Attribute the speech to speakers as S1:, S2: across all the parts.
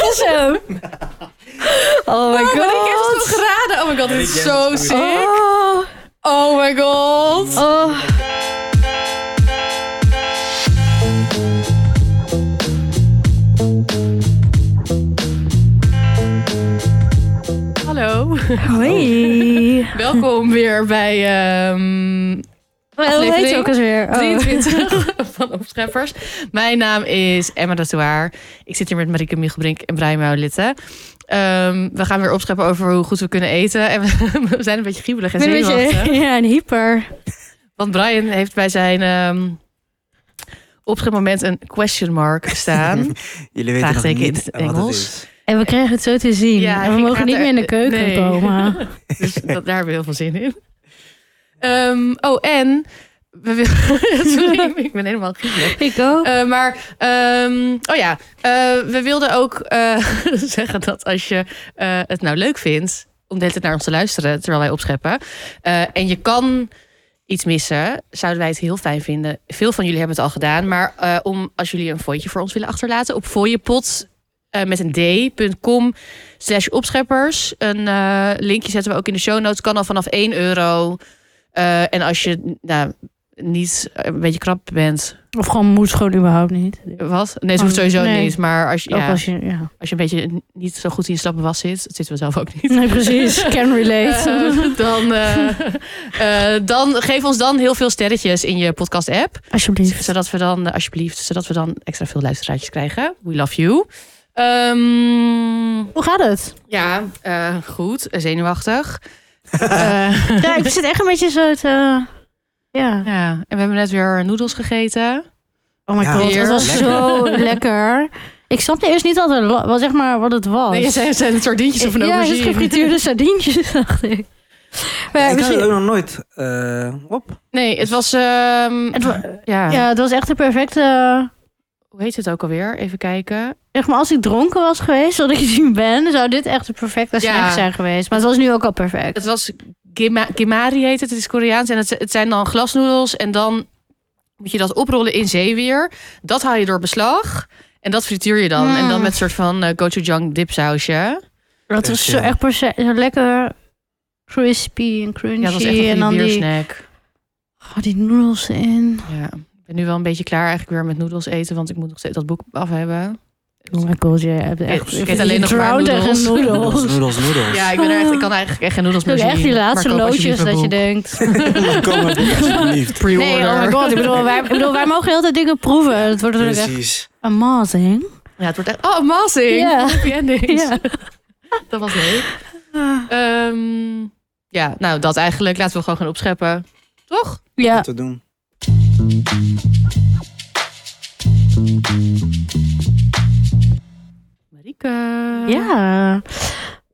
S1: was hem. Oh my
S2: Maar ik heb
S1: god.
S2: het toch geraden. Oh my god, dit is zo sick.
S1: Oh,
S2: Oh my god.
S1: oh.
S2: Hallo.
S1: Hoi.
S2: Welkom weer bij ehm
S1: Hoe heet je ook eens weer? Oh.
S2: 23 van Opscheppers. Mijn naam is Emma Datouaar. Ik zit hier met Marieke Miegelbrink en Brian Maulitte. Ehm, we gaan weer opscheppen over hoe goed we kunnen eten. En we, we zijn een beetje giebelig en
S1: Ik ben een
S2: zenuwachtig.
S1: beetje, ja, een hyper.
S2: Want Brian heeft bij zijn ehm opschepmoment een question mark staan.
S3: Jullie weten nog
S2: Vraagteken in
S3: niet
S2: het
S3: wat het
S2: Engels.
S3: is.
S1: En we krijgen het zo te zien.
S2: Ja,
S1: en we
S2: ik
S1: mogen
S2: ga
S1: niet
S2: er-
S1: meer in de keuken
S2: nee.
S1: komen.
S2: dus dat, daar hebben we heel veel zin in. Ehm, oh, en... We willen, sorry, ik ben helemaal giebelig.
S1: Ik ook.
S2: Eh, maar, ehm, oh ja, eh, we wilden ook eh, zeggen dat als je eh, het nou leuk vindt om de hele tijd naar ons te luisteren terwijl wij opscheppen, eh, en je kan iets missen, zouden wij het heel fijn vinden. Veel van jullie hebben het al gedaan, maar eh, om als jullie een voetje voor ons willen achterlaten op fooiepot eh, met een d.com slash opscheppers. Een eh, linkje zetten we ook in de show notes. Kan al vanaf 1 euro. Eh, en als je nou, niet eh, een beetje krap bent,
S1: Eh, Of gewoon moet gewoon überhaupt niet.
S2: wat? Nee, ze hoeft
S1: Oh,
S2: sowieso
S1: nee.
S2: niet. Maar als je,
S1: Ook
S2: ja, als,
S1: als
S2: je...
S1: je, ja.
S2: een beetje niet zo goed in je stappenwas zit, dat zitten we zelf ook niet.
S1: Nee, precies. Can relate.
S2: Eh, dan, eh, eh, dan geef ons dan heel veel sterretjes in je podcast-app.
S1: Alsjeblieft.
S2: Zodat we dan, eh, alsjeblieft, zodat we dan extra veel luisteraartjes krijgen. We love you. Ehm,
S1: Hoe gaat het?
S2: ja, eh, goed. Zenuwachtig. Eh,
S1: Ja, ik zit echt een beetje zo te... ja.
S2: ja, en we hebben net weer noedels gegeten.
S1: Oh my
S3: Ja,
S1: god,
S2: weer.
S1: het was
S3: Lekker.
S1: zo lekker. Ik snapte eerst niet wat, er, la- wat, zeg maar, wat het was.
S2: Nee, Oh, het zijn, het zijn sardientjes of een
S1: ja, het is
S2: aubergine.
S1: gefrituurde sardientjes, dacht ik. Maar ja,
S3: ik had het
S1: misschien-
S3: ook nog nooit eh, op.
S2: Nee, het was... ehm,
S1: het wa-
S2: ja.
S1: ja, het was echt de perfecte...
S2: Hoe heet het ook alweer? Even kijken.
S1: Zeg maar, als ik dronken was geweest, zodat ik gezien ben... zou dit echt de perfecte
S2: Ja.
S1: snack zijn geweest. Maar het was nu ook al perfect.
S2: Het was gima- gimari heet het. Het is Koreaans. En het, het zijn dan glasnoedels. En dan moet je dat oprollen in zeewier. Dat haal je door beslag. En dat frituur je dan.
S1: Mm.
S2: En dan met een soort van eh, gochujang dipsausje.
S1: Dat was zo
S3: Ja.
S1: echt perfe- zo lekker crispy en crunchy.
S2: Ja, dat was echt een
S1: en dan
S2: goede
S1: die,
S2: biersnack.
S1: oh, die noedels in.
S2: Ja. Ik ben nu wel een beetje klaar eigenlijk weer met noedels eten. Want ik moet nog steeds dat boek af hebben.
S1: Oh my god, je hebt echt...
S2: ik eet alleen nog maar
S1: drowned echt
S2: noedels.
S1: in noedels.
S3: Noedels, noedels, noedels.
S2: Ja, ik, ben er echt, ik kan eigenlijk echt geen noedels
S1: Doe
S2: meer
S1: echt
S2: zien.
S1: die
S2: Maar
S1: laatste
S2: koop alsjeblieft
S1: loodjes
S2: mijn
S1: dat je
S2: boek.
S1: denkt.
S3: Kom maar, alsjeblieft.
S2: Pre-order.
S1: Nee, oh my god. Ik bedoel, wij, ik bedoel, wij mogen heel de dingen proeven. Het wordt natuurlijk echt
S3: Precies.
S1: amazing.
S2: Ja, het wordt echt... Oh, amazing!
S1: Ja.
S2: Happy endings.
S1: Ja.
S2: Dat was leuk. Ehm, ja, nou dat eigenlijk. Laten we gewoon gaan opscheppen. Toch?
S1: Ja,
S3: Te doen.
S2: Marieke.
S1: ja.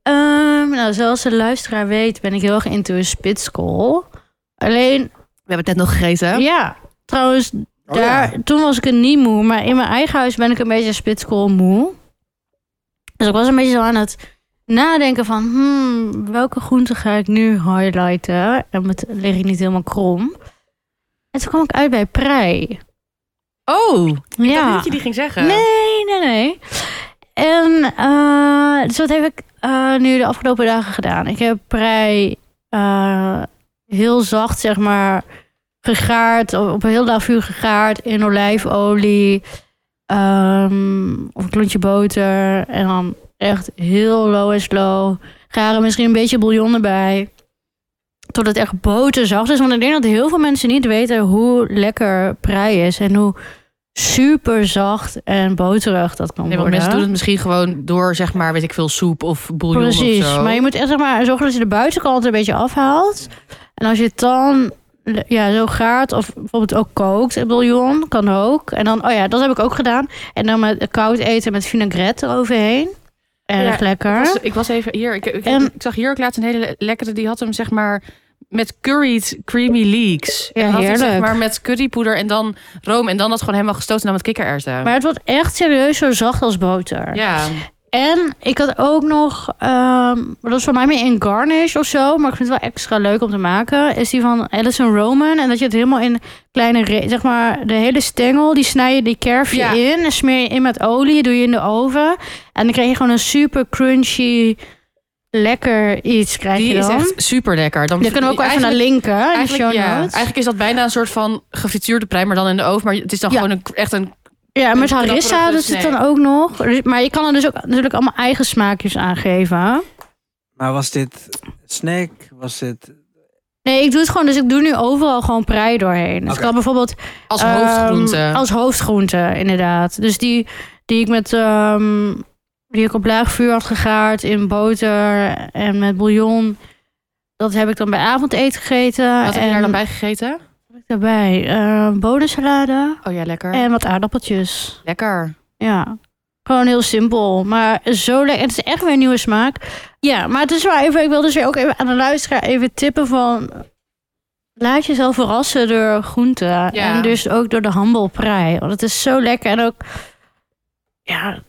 S1: Ehm, nou, zoals de luisteraar weet, ben ik heel erg into een spitskool. Alleen,
S2: We hebben het net nog gegeten.
S1: ja, trouwens,
S3: Oh,
S1: daar,
S3: ja.
S1: toen was ik het niet moe. Maar in mijn eigen huis ben ik een beetje spitskool moe. Dus ik was een beetje zo aan het nadenken van... Hmm, welke groente ga ik nu highlighten? En met, lig ik niet helemaal krom. En toen kwam ik uit bij prei.
S2: Oh,
S1: Ja.
S2: ik dacht niet dat je die ging zeggen.
S1: Nee, nee, nee. En eh, dus wat heb ik eh, nu de afgelopen dagen gedaan? Ik heb prei eh, heel zacht, zeg maar, gegaard. Op op een heel laag vuur gegaard in olijfolie. ehm, of een klontje boter. En dan echt heel low en slow. Garen misschien een beetje bouillon erbij. Totdat het echt boterzacht is. Want ik denk dat heel veel mensen niet weten hoe lekker prei is. En hoe super zacht en boterig dat kan
S2: Nee, want
S1: worden.
S2: mensen doen het misschien gewoon door, zeg maar, weet ik veel, soep of bouillon
S1: Precies,
S2: of zo.
S1: maar je moet echt zeg maar, zorgen dat je de buitenkant een beetje afhaalt. En als je het dan ja, zo gaat, of bijvoorbeeld ook kookt, een bouillon, kan ook. En dan, oh ja, dat heb ik ook gedaan. En dan met koud eten met vinaigrette eroverheen. Erg
S2: Ja,
S1: lekker.
S2: Ik was- ik was even hier. Ik, ik,
S1: En-
S2: ik zag hier ook laatst een hele le- lekkere. Die had hem zeg maar met curried creamy leeks.
S1: Ja,
S2: En had hem, zeg
S1: heerlijk.
S2: maar met currypoeder en dan room en dan dat gewoon helemaal gestoten en dan met kikkererwten.
S1: Maar het wordt echt serieus zo zacht als boter.
S2: ja.
S1: En ik had ook nog, ehm, dat is voor mij meer in garnish of zo, maar ik vind het wel extra leuk om te maken. Is die van Alison Roman. En dat je het helemaal in kleine, re- zeg maar, de hele stengel, die snij je die kerf je
S2: Ja.
S1: in. En smeer je in met olie, doe je in de oven. En dan krijg je gewoon een super crunchy, lekker iets. Krijg
S2: Die
S1: je
S2: is
S1: dan.
S2: echt super lekker. Dan
S1: Je kunnen we ook wel even naar
S2: eigenlijk-
S1: linken hè, in de show
S2: Eigenlijk, ja,
S1: notes.
S2: eigenlijk is dat bijna een soort van gefrituurde prei, maar dan in de oven. Maar het is dan
S1: Ja.
S2: gewoon een, echt een...
S1: Ja, en met
S2: Een
S1: harissa
S2: knapperige
S1: doet het
S2: snee.
S1: dan ook nog. Dus- Maar je kan er dus ook natuurlijk allemaal eigen smaakjes aan geven.
S3: Maar was dit snack? Was dit...
S1: Nee, ik doe het gewoon. Dus ik doe nu overal gewoon prei doorheen. Dus ik
S3: Oké.
S1: kan bijvoorbeeld...
S2: Als
S1: ehm,
S2: hoofdgroente.
S1: Als hoofdgroente, inderdaad. Dus die, die ik met... ehm, die ik op laag vuur had gegaard in boter en met bouillon. Dat heb ik dan bij avondeten gegeten.
S2: Wat heb je
S1: en
S2: daar dan bij gegeten?
S1: heb ik daarbij? Eh bonensalade
S2: Oh ja, lekker.
S1: en wat aardappeltjes.
S2: Lekker.
S1: Ja. Gewoon heel simpel, maar zo lekker. Het is echt weer een nieuwe smaak. Ja, maar het is wel even. Ik wil dus weer ook even aan de luisteraar even tippen van. Laat jezelf verrassen door groenten. En dus ook door de handelprei. Want het is zo lekker. En ook. Ja.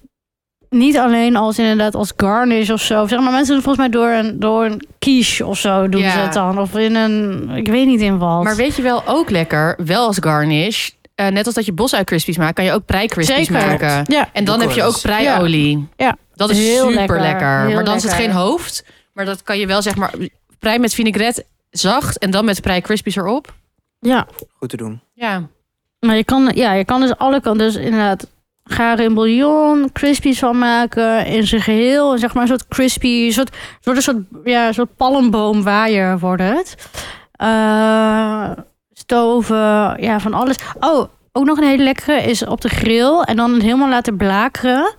S1: Niet alleen als inderdaad als garnish of zo. Zeg maar mensen doen het volgens mij door een, door een quiche of zo doen
S2: Ja.
S1: ze het dan. Of in een. Ik weet niet in wat.
S2: Maar weet je wel ook lekker, wel als garnish, eh, net als dat je bosui crispies maakt, kan je ook prei crispies
S1: Zeker.
S2: maken.
S1: ja.
S2: En dan
S3: Doe
S2: heb je
S3: eens.
S2: ook preiolie.
S1: Ja.
S2: Dat is
S1: Heel
S2: super lekker.
S1: lekker. Heel
S2: maar dan is het
S1: lekker.
S2: geen hoofd. Maar dat kan je wel zeg maar prei met vinaigrette zacht en dan met prei crispies erop.
S1: ja.
S3: Goed te
S2: Mm,
S3: doen.
S2: Ja.
S1: Maar je kan, ja, je kan dus alle kanten. Dus inderdaad, garen in bouillon, crispies van maken in zijn geheel. Zeg maar een soort crispy, een soort, het wordt een soort, ja, een soort palmboomwaaier wordt het. Eh, stoven, ja, van alles. Oh, ook nog een hele lekkere is op de grill. En dan het helemaal laten blakeren.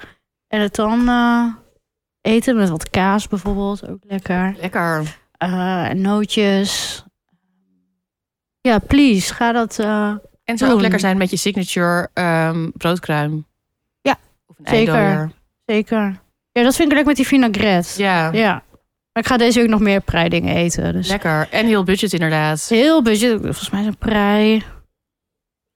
S1: En het dan eh, eten met wat kaas bijvoorbeeld, ook lekker.
S2: Lekker.
S1: Eh, nootjes. Ja, please, ga dat... eh,
S2: En het zou ook
S1: Doen.
S2: lekker zijn met je signature ehm, broodkruim.
S1: Ja,
S2: Of een
S1: zeker.
S2: eidooier.
S1: Zeker. Ja, dat vind ik leuk met die vinaigrette.
S2: Ja,
S1: Ja. Maar ik ga deze week nog meer preidingen eten. Dus
S2: lekker. En heel budget inderdaad.
S1: het is heel budget. Volgens mij is een prei...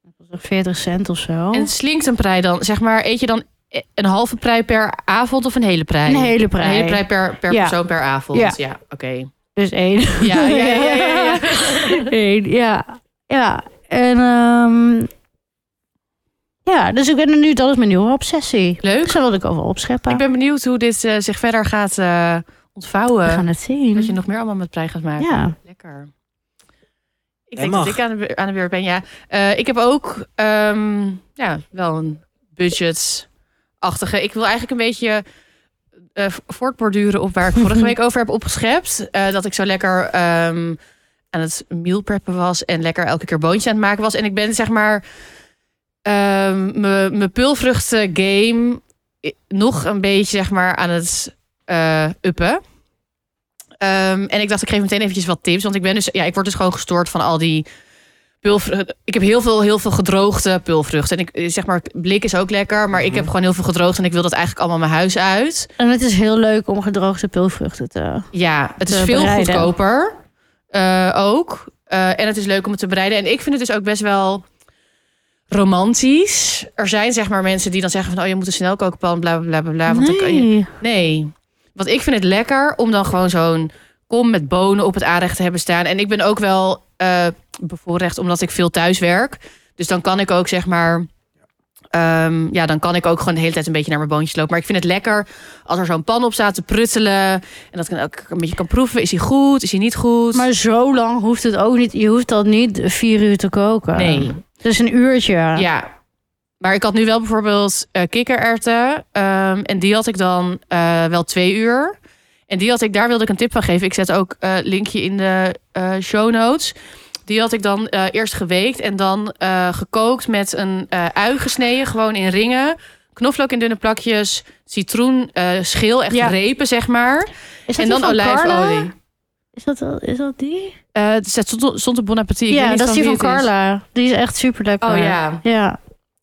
S1: dat was nog 40 cent of zo.
S2: En slinkt een prei dan? Zeg maar, eet je dan e, een halve prei per avond of een hele prei?
S1: Een hele prei.
S2: Een hele prei per, per
S1: Ja.
S2: persoon per avond.
S1: Ja.
S2: Ja, oké.
S1: Dus één.
S2: Ja, ja, ja, ja, ja.
S1: Eén, ja. Ja. En ehm Ja, dus ik ben er nu... Dat is mijn nieuwe obsessie.
S2: Leuk.
S1: Ik zal wat ik over opscheppen.
S2: Ik ben benieuwd hoe dit eh, zich verder gaat eh, ontvouwen.
S1: We gaan het
S2: eh, Dat je
S1: zien.
S2: nog meer allemaal met prei gaat maken.
S1: Ja.
S2: Lekker. Ik
S3: Hij
S2: denk
S3: mag.
S2: dat ik aan de, be- aan de beurt ben, ja. Eh, ik heb ook ehm, ja, wel een budgetachtige. Ik wil eigenlijk een beetje eh, v- voortborduren op waar ik vorige week over heb opgeschept. Eh, dat ik zo lekker ehm, aan het meal preppen was en lekker elke keer boontje aan het maken was. En ik ben zeg maar ehm, mijn mijn pulvruchten game i- nog een beetje zeg maar aan het eh, uppen. Ehm, en ik dacht, ik geef meteen eventjes wat tips. Want ik ben dus, ja, ik word dus gewoon gestoord van al die pulvruchten. Ik heb heel veel, heel veel gedroogde pulvruchten. En ik eh, zeg maar, blik is ook lekker. Maar ik
S3: Mhm.
S2: heb gewoon heel veel gedroogd. En ik wil dat eigenlijk allemaal mijn huis uit.
S1: En het is heel leuk om gedroogde pilvruchten te...
S2: Ja, het is
S1: te
S2: veel
S1: bereiden.
S2: goedkoper eh, ook. Eh, en het is leuk om het te bereiden. En ik vind het dus ook best wel romantisch. Er zijn zeg maar mensen die dan zeggen van... oh, je moet een snelkookpan, bla, bla, bla, bla, bla. Want dan kan je...
S1: Nee.
S2: Nee. Want ik vind het lekker om dan gewoon zo'n kom met bonen op het aanrecht te hebben staan. En ik ben ook wel eh bevoorrecht omdat ik veel thuis werk. Dus dan kan ik ook zeg maar... ehm, ja, dan kan ik ook gewoon de hele tijd een beetje naar mijn boontjes lopen. Maar ik vind het lekker als er zo'n pan op staat te pruttelen. En dat ik dan ook een beetje kan proeven. Is hij goed? Is hij niet goed?
S1: Maar zo lang hoeft het ook niet. Je hoeft dat niet vier uur te koken.
S2: nee.
S1: Dus een uurtje.
S2: Ja. Maar ik had nu wel bijvoorbeeld eh kikkererwten. ehm, en die had ik dan eh, wel twee uur. En die had ik, daar wilde ik een tip van geven. Ik zet ook eh linkje in de eh, show notes. Die had ik dan eh, eerst geweekt en dan eh, gekookt met een eh ui gesneden. Gewoon in ringen. Knoflook in dunne plakjes. Citroen, eh, schil, echt
S1: Ja.
S2: repen zeg maar.
S1: Is dat
S2: En
S1: die
S2: dan
S1: van Carla?
S2: olijfolie.
S1: Is dat, wel- is dat die?
S2: Eh, Het stond- stond op Bon Appetit. Ik weet
S1: ja,
S2: niet
S1: dat is die van
S2: wie het is.
S1: Carla. Die is echt super lekker.
S2: Oh ja.
S1: Ja,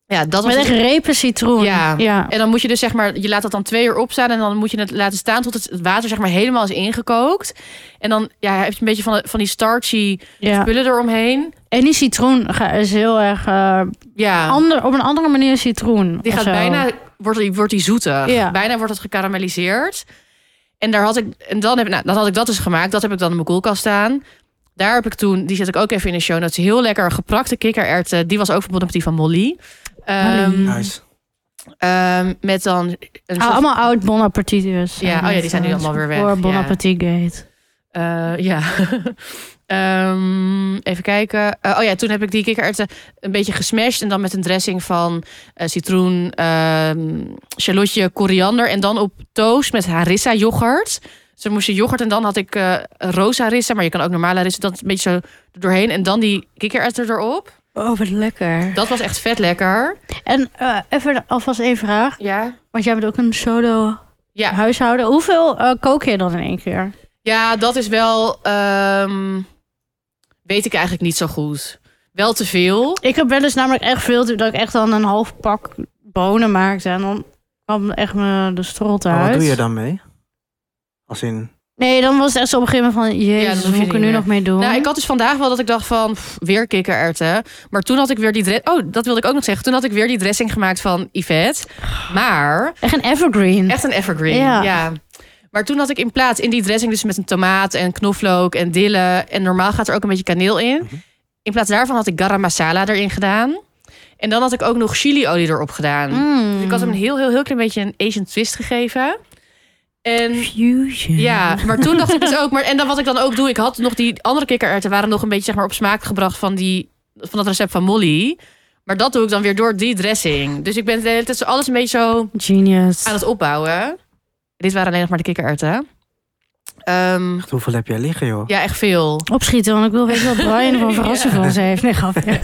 S2: Ja, dat was
S1: met
S2: het
S1: echt repen citroen.
S2: Ja.
S1: ja.
S2: En dan moet je dus zeg maar, je laat dat dan twee uur opstaan en dan moet je het laten staan tot het water zeg maar helemaal is ingekookt. En dan ja, heb je een beetje van, van die starchy
S1: ja.
S2: spullen eromheen.
S1: En die citroen ga- is heel erg... eh,
S2: Ja,
S1: ander, op een andere manier citroen.
S2: Ah. die
S1: of
S2: gaat
S1: zo. Ah,
S2: bijna wordt die, wordt die zoetig.
S1: Ja.
S2: Bijna wordt het gekarameliseerd. En, daar had ik, en dan, heb, nou, dan had ik dat dus gemaakt. Dat heb ik dan in mijn koelkast staan. Daar heb ik toen, die zet ik ook even in de show notes. Heel lekker geprakte kikkererwten. Die was ook verbonden met die van Molly. Ehm,
S1: Molly.
S3: Nice.
S2: ehm, met dan... Een soort-
S1: Oh, allemaal oud Bon Appetit dus.
S2: Ja, oh ja, die zijn nu allemaal weer weg,
S1: Voor Bon
S2: ja.
S1: Appetit Gate.
S2: Eh, ja. Ehm, even kijken. Eh, oh ja, toen heb ik die kikkererwten een beetje gesmashed. En dan met een dressing van eh, citroen, ehm shallotje, koriander. En dan op toast met harissa yoghurt. Dus dan moest je yoghurt en dan had ik eh roze harissa. Maar je kan ook normale harissa. Dat is een beetje zo er doorheen. En dan die kikkererwten erop.
S1: Oh, wat lekker.
S2: Dat was echt vet lekker.
S1: En eh, even alvast één vraag.
S2: Ja.
S1: Want jij bent ook een solo
S2: Ja.
S1: huishouden. Hoeveel eh, kook je dan in één keer?
S2: Ja, dat is wel... ehm, weet ik eigenlijk niet zo goed. Wel te veel.
S1: Ik heb wel eens namelijk echt veel... te- dat ik echt dan een half pak bonen maakte. En dan kwam echt me de strot uit.
S3: Maar Oh, wat doe je dan mee? Als in...
S1: Nee, dan was het echt zo op een gegeven moment van...
S2: dan
S1: Jezus,
S2: hoef je
S1: wat moet ik er
S2: niet
S1: nu
S2: meer.
S1: nog mee doen?
S2: Nou, ik had dus vandaag wel dat ik dacht van, pff, weer kikkererwten. Maar toen had ik weer die dress... Oh, dat wilde ik ook nog zeggen. Toen had ik weer die dressing gemaakt van Yvette. Maar
S1: Echt een evergreen.
S2: echt een evergreen.
S1: Ja.
S2: Ja. Maar toen had ik in plaats in die dressing dus met een tomaat en knoflook en dille. En normaal gaat er ook een beetje kaneel in.
S3: Mhm.
S2: In plaats daarvan had ik garam masala erin gedaan. En dan had ik ook nog chiliolie erop gedaan.
S1: Mm.
S2: Dus ik had hem een heel, heel, heel klein beetje een Asian twist gegeven. En
S1: Fusion.
S2: ja, maar toen dacht ik dus ook. Maar, en dan wat ik dan ook doe, ik had nog die andere kikkererwten waren nog een beetje zeg maar, op smaak gebracht van, die, van dat recept van Molly. Maar dat doe ik dan weer door die dressing. Dus ik ben de hele tijd zo alles een beetje zo
S1: Genius.
S2: aan het opbouwen. Dit waren alleen nog maar de kikkererwten. Ehm,
S3: Hoeveel heb jij liggen, joh?
S2: ja, echt veel.
S1: Opschieten, want ik wil weten wat Brian voor verrassing voor ons heeft. Nee, grapje.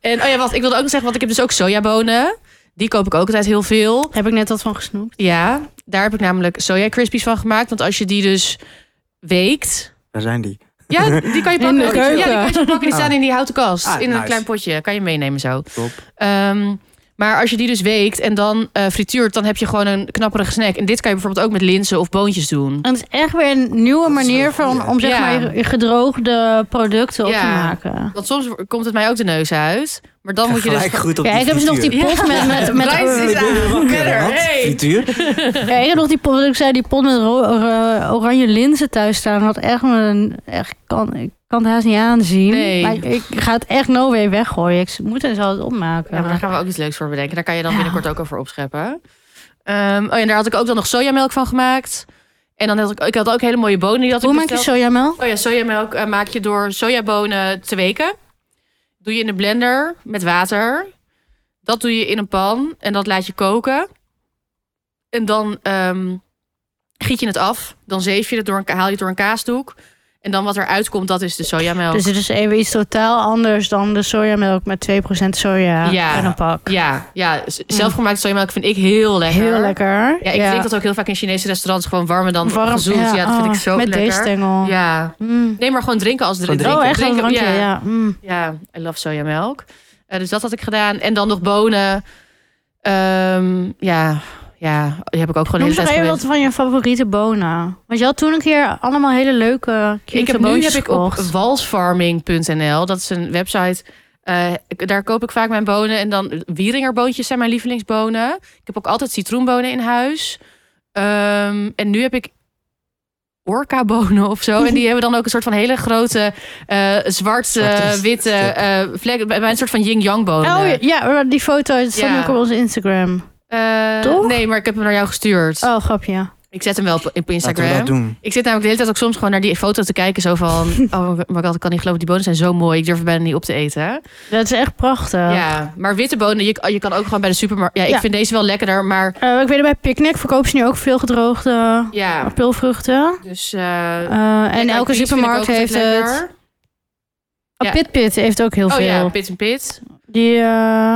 S2: En oh ja, wat ik wilde ook nog zeggen, want ik heb dus ook sojabonen. Die koop ik ook altijd heel veel.
S1: Heb ik net wat van gesnoept.
S2: Ja, daar heb ik namelijk soja crispies van gemaakt. Want als je die dus weekt,
S3: Daar zijn die.
S2: Ja, die kan je
S1: de
S2: pakken.
S1: keuken.
S2: Ja, die kan je pakken. Die staan in die houten kast.
S3: Ah,
S2: in een
S3: nice.
S2: klein potje. Kan je meenemen zo.
S3: Top.
S2: Ehm, maar als je die dus weekt en dan eh, frituurt, dan heb je gewoon een knapperige snack. En dit kan je bijvoorbeeld ook met linzen of boontjes doen.
S1: En het is echt weer een nieuwe
S3: Dat is wel
S1: manier
S3: goed,
S1: van,
S3: hè?
S1: om zeg
S2: Ja.
S1: maar je- je gedroogde producten op te
S2: Ja.
S1: maken.
S2: Want soms komt het mij ook de neus uit. Maar dan moet je dus...
S3: Gelijk goed op Oh,
S1: Ja, ik heb dus nog die pot
S2: Ja.
S1: met... met, met
S2: Blijf
S1: eh,
S2: is aan. Verder,
S3: Wat?
S2: hey.
S3: Frituur?
S1: ja, ik heb nog die pot, wat ik zei, die pot met ro- or- oranje linzen thuis staan. Had echt me, echt kan, ik kan het haast niet aanzien.
S2: Nee.
S1: Maar ik ga het echt no way weggooien. Ik moet en zal het opmaken.
S2: Ja, maar daar gaan we ook iets leuks voor bedenken. Daar kan je dan
S1: Ja.
S2: binnenkort ook over opscheppen. Ehm, oh ja, en daar had ik ook dan nog sojamelk van gemaakt. En dan had ik, ik had ook hele mooie bonen. Die had ik
S1: Hoe maak je
S2: besteld.
S1: sojamelk?
S2: Oh ja, sojamelk eh, maak je door sojabonen te weken. Doe je in de blender met water. Dat doe je in een pan en dat laat je koken. En dan ehm, giet je het af. Dan zeef je het door een, ka- haal je het door een kaasdoek. En dan wat eruit komt, dat is de sojamelk.
S1: Dus het is even iets totaal anders dan de sojamelk met 2% soja
S2: Ja.
S1: en een pak.
S2: Ja, ja, z- zelfgemaakte sojamelk vind ik heel lekker.
S1: Heel lekker.
S2: Ja, ik drink dat ook heel vaak in Chinese restaurants. Gewoon warmer dan
S1: Warm,
S2: gezoet. Ja, dat vind
S1: oh,
S2: ik zo
S1: met
S2: lekker.
S1: deze stengel.
S2: Ja.
S1: Mm.
S2: Nee, maar gewoon drinken als
S3: Gewoon
S2: drinken.
S3: drinken.
S1: Oh, echt een
S2: Drinken,
S1: drankje, ja. mm.
S2: Ja, I love sojamelk. Eh, dus dat had ik gedaan. En dan nog bonen. Ehm, ja, ja, die heb ik ook gewoon
S1: Noem
S2: in de
S1: toch
S2: tijd
S1: even wat
S2: geweest.
S1: van je favoriete bonen. Want je had toen een keer allemaal hele leuke
S2: Ik heb nu
S1: boontjes
S2: heb ik op
S1: gekocht.
S2: walsfarming.nl. Dat is een website. eh, ik- daar koop ik vaak mijn bonen. En dan wieringerboontjes zijn mijn lievelingsbonen. Ik heb ook altijd citroenbonen in huis. Ehm, en nu heb ik orkabonen of zo. En die hebben dan ook een soort van hele grote eh, zwarte,
S3: Zwarte
S2: witte
S3: stippen.
S2: eh vlekken. Bij mij een soort van yin-yang bonen.
S1: Oh ja, maar die foto is
S2: Ja.
S1: ook op onze Instagram.
S2: Eh,
S1: Toch?
S2: Nee, maar ik heb hem naar jou gestuurd.
S1: Oh, grapje.
S2: Ik zet hem wel op, op
S3: Laten we dat
S2: Instagram.
S3: doen.
S2: Ik zit namelijk de hele tijd ook soms gewoon naar die foto te kijken. Zo van, oh maar god, ik kan niet geloven, die bonen zijn zo mooi. Ik durf er bijna niet op te eten.
S1: Dat is echt prachtig.
S2: Ja, maar witte bonen, je, je kan ook gewoon bij de supermarkt. Ja, ik
S1: Ja.
S2: vind deze wel lekkerder, maar
S1: Eh, ik weet bij Picnic verkopen ze nu ook veel gedroogde
S2: ja.
S1: peulvruchten.
S2: Dus, eh,
S1: Eh, en
S2: Black Eyed
S1: elke
S2: Peas vind ik
S1: supermarkt
S2: ook altijd
S1: heeft het.
S2: lekker.
S1: Oh,
S2: Ja.
S1: Pit Pit heeft ook heel
S2: Oh
S1: veel.
S2: ja, pit en pit.
S1: Die eh,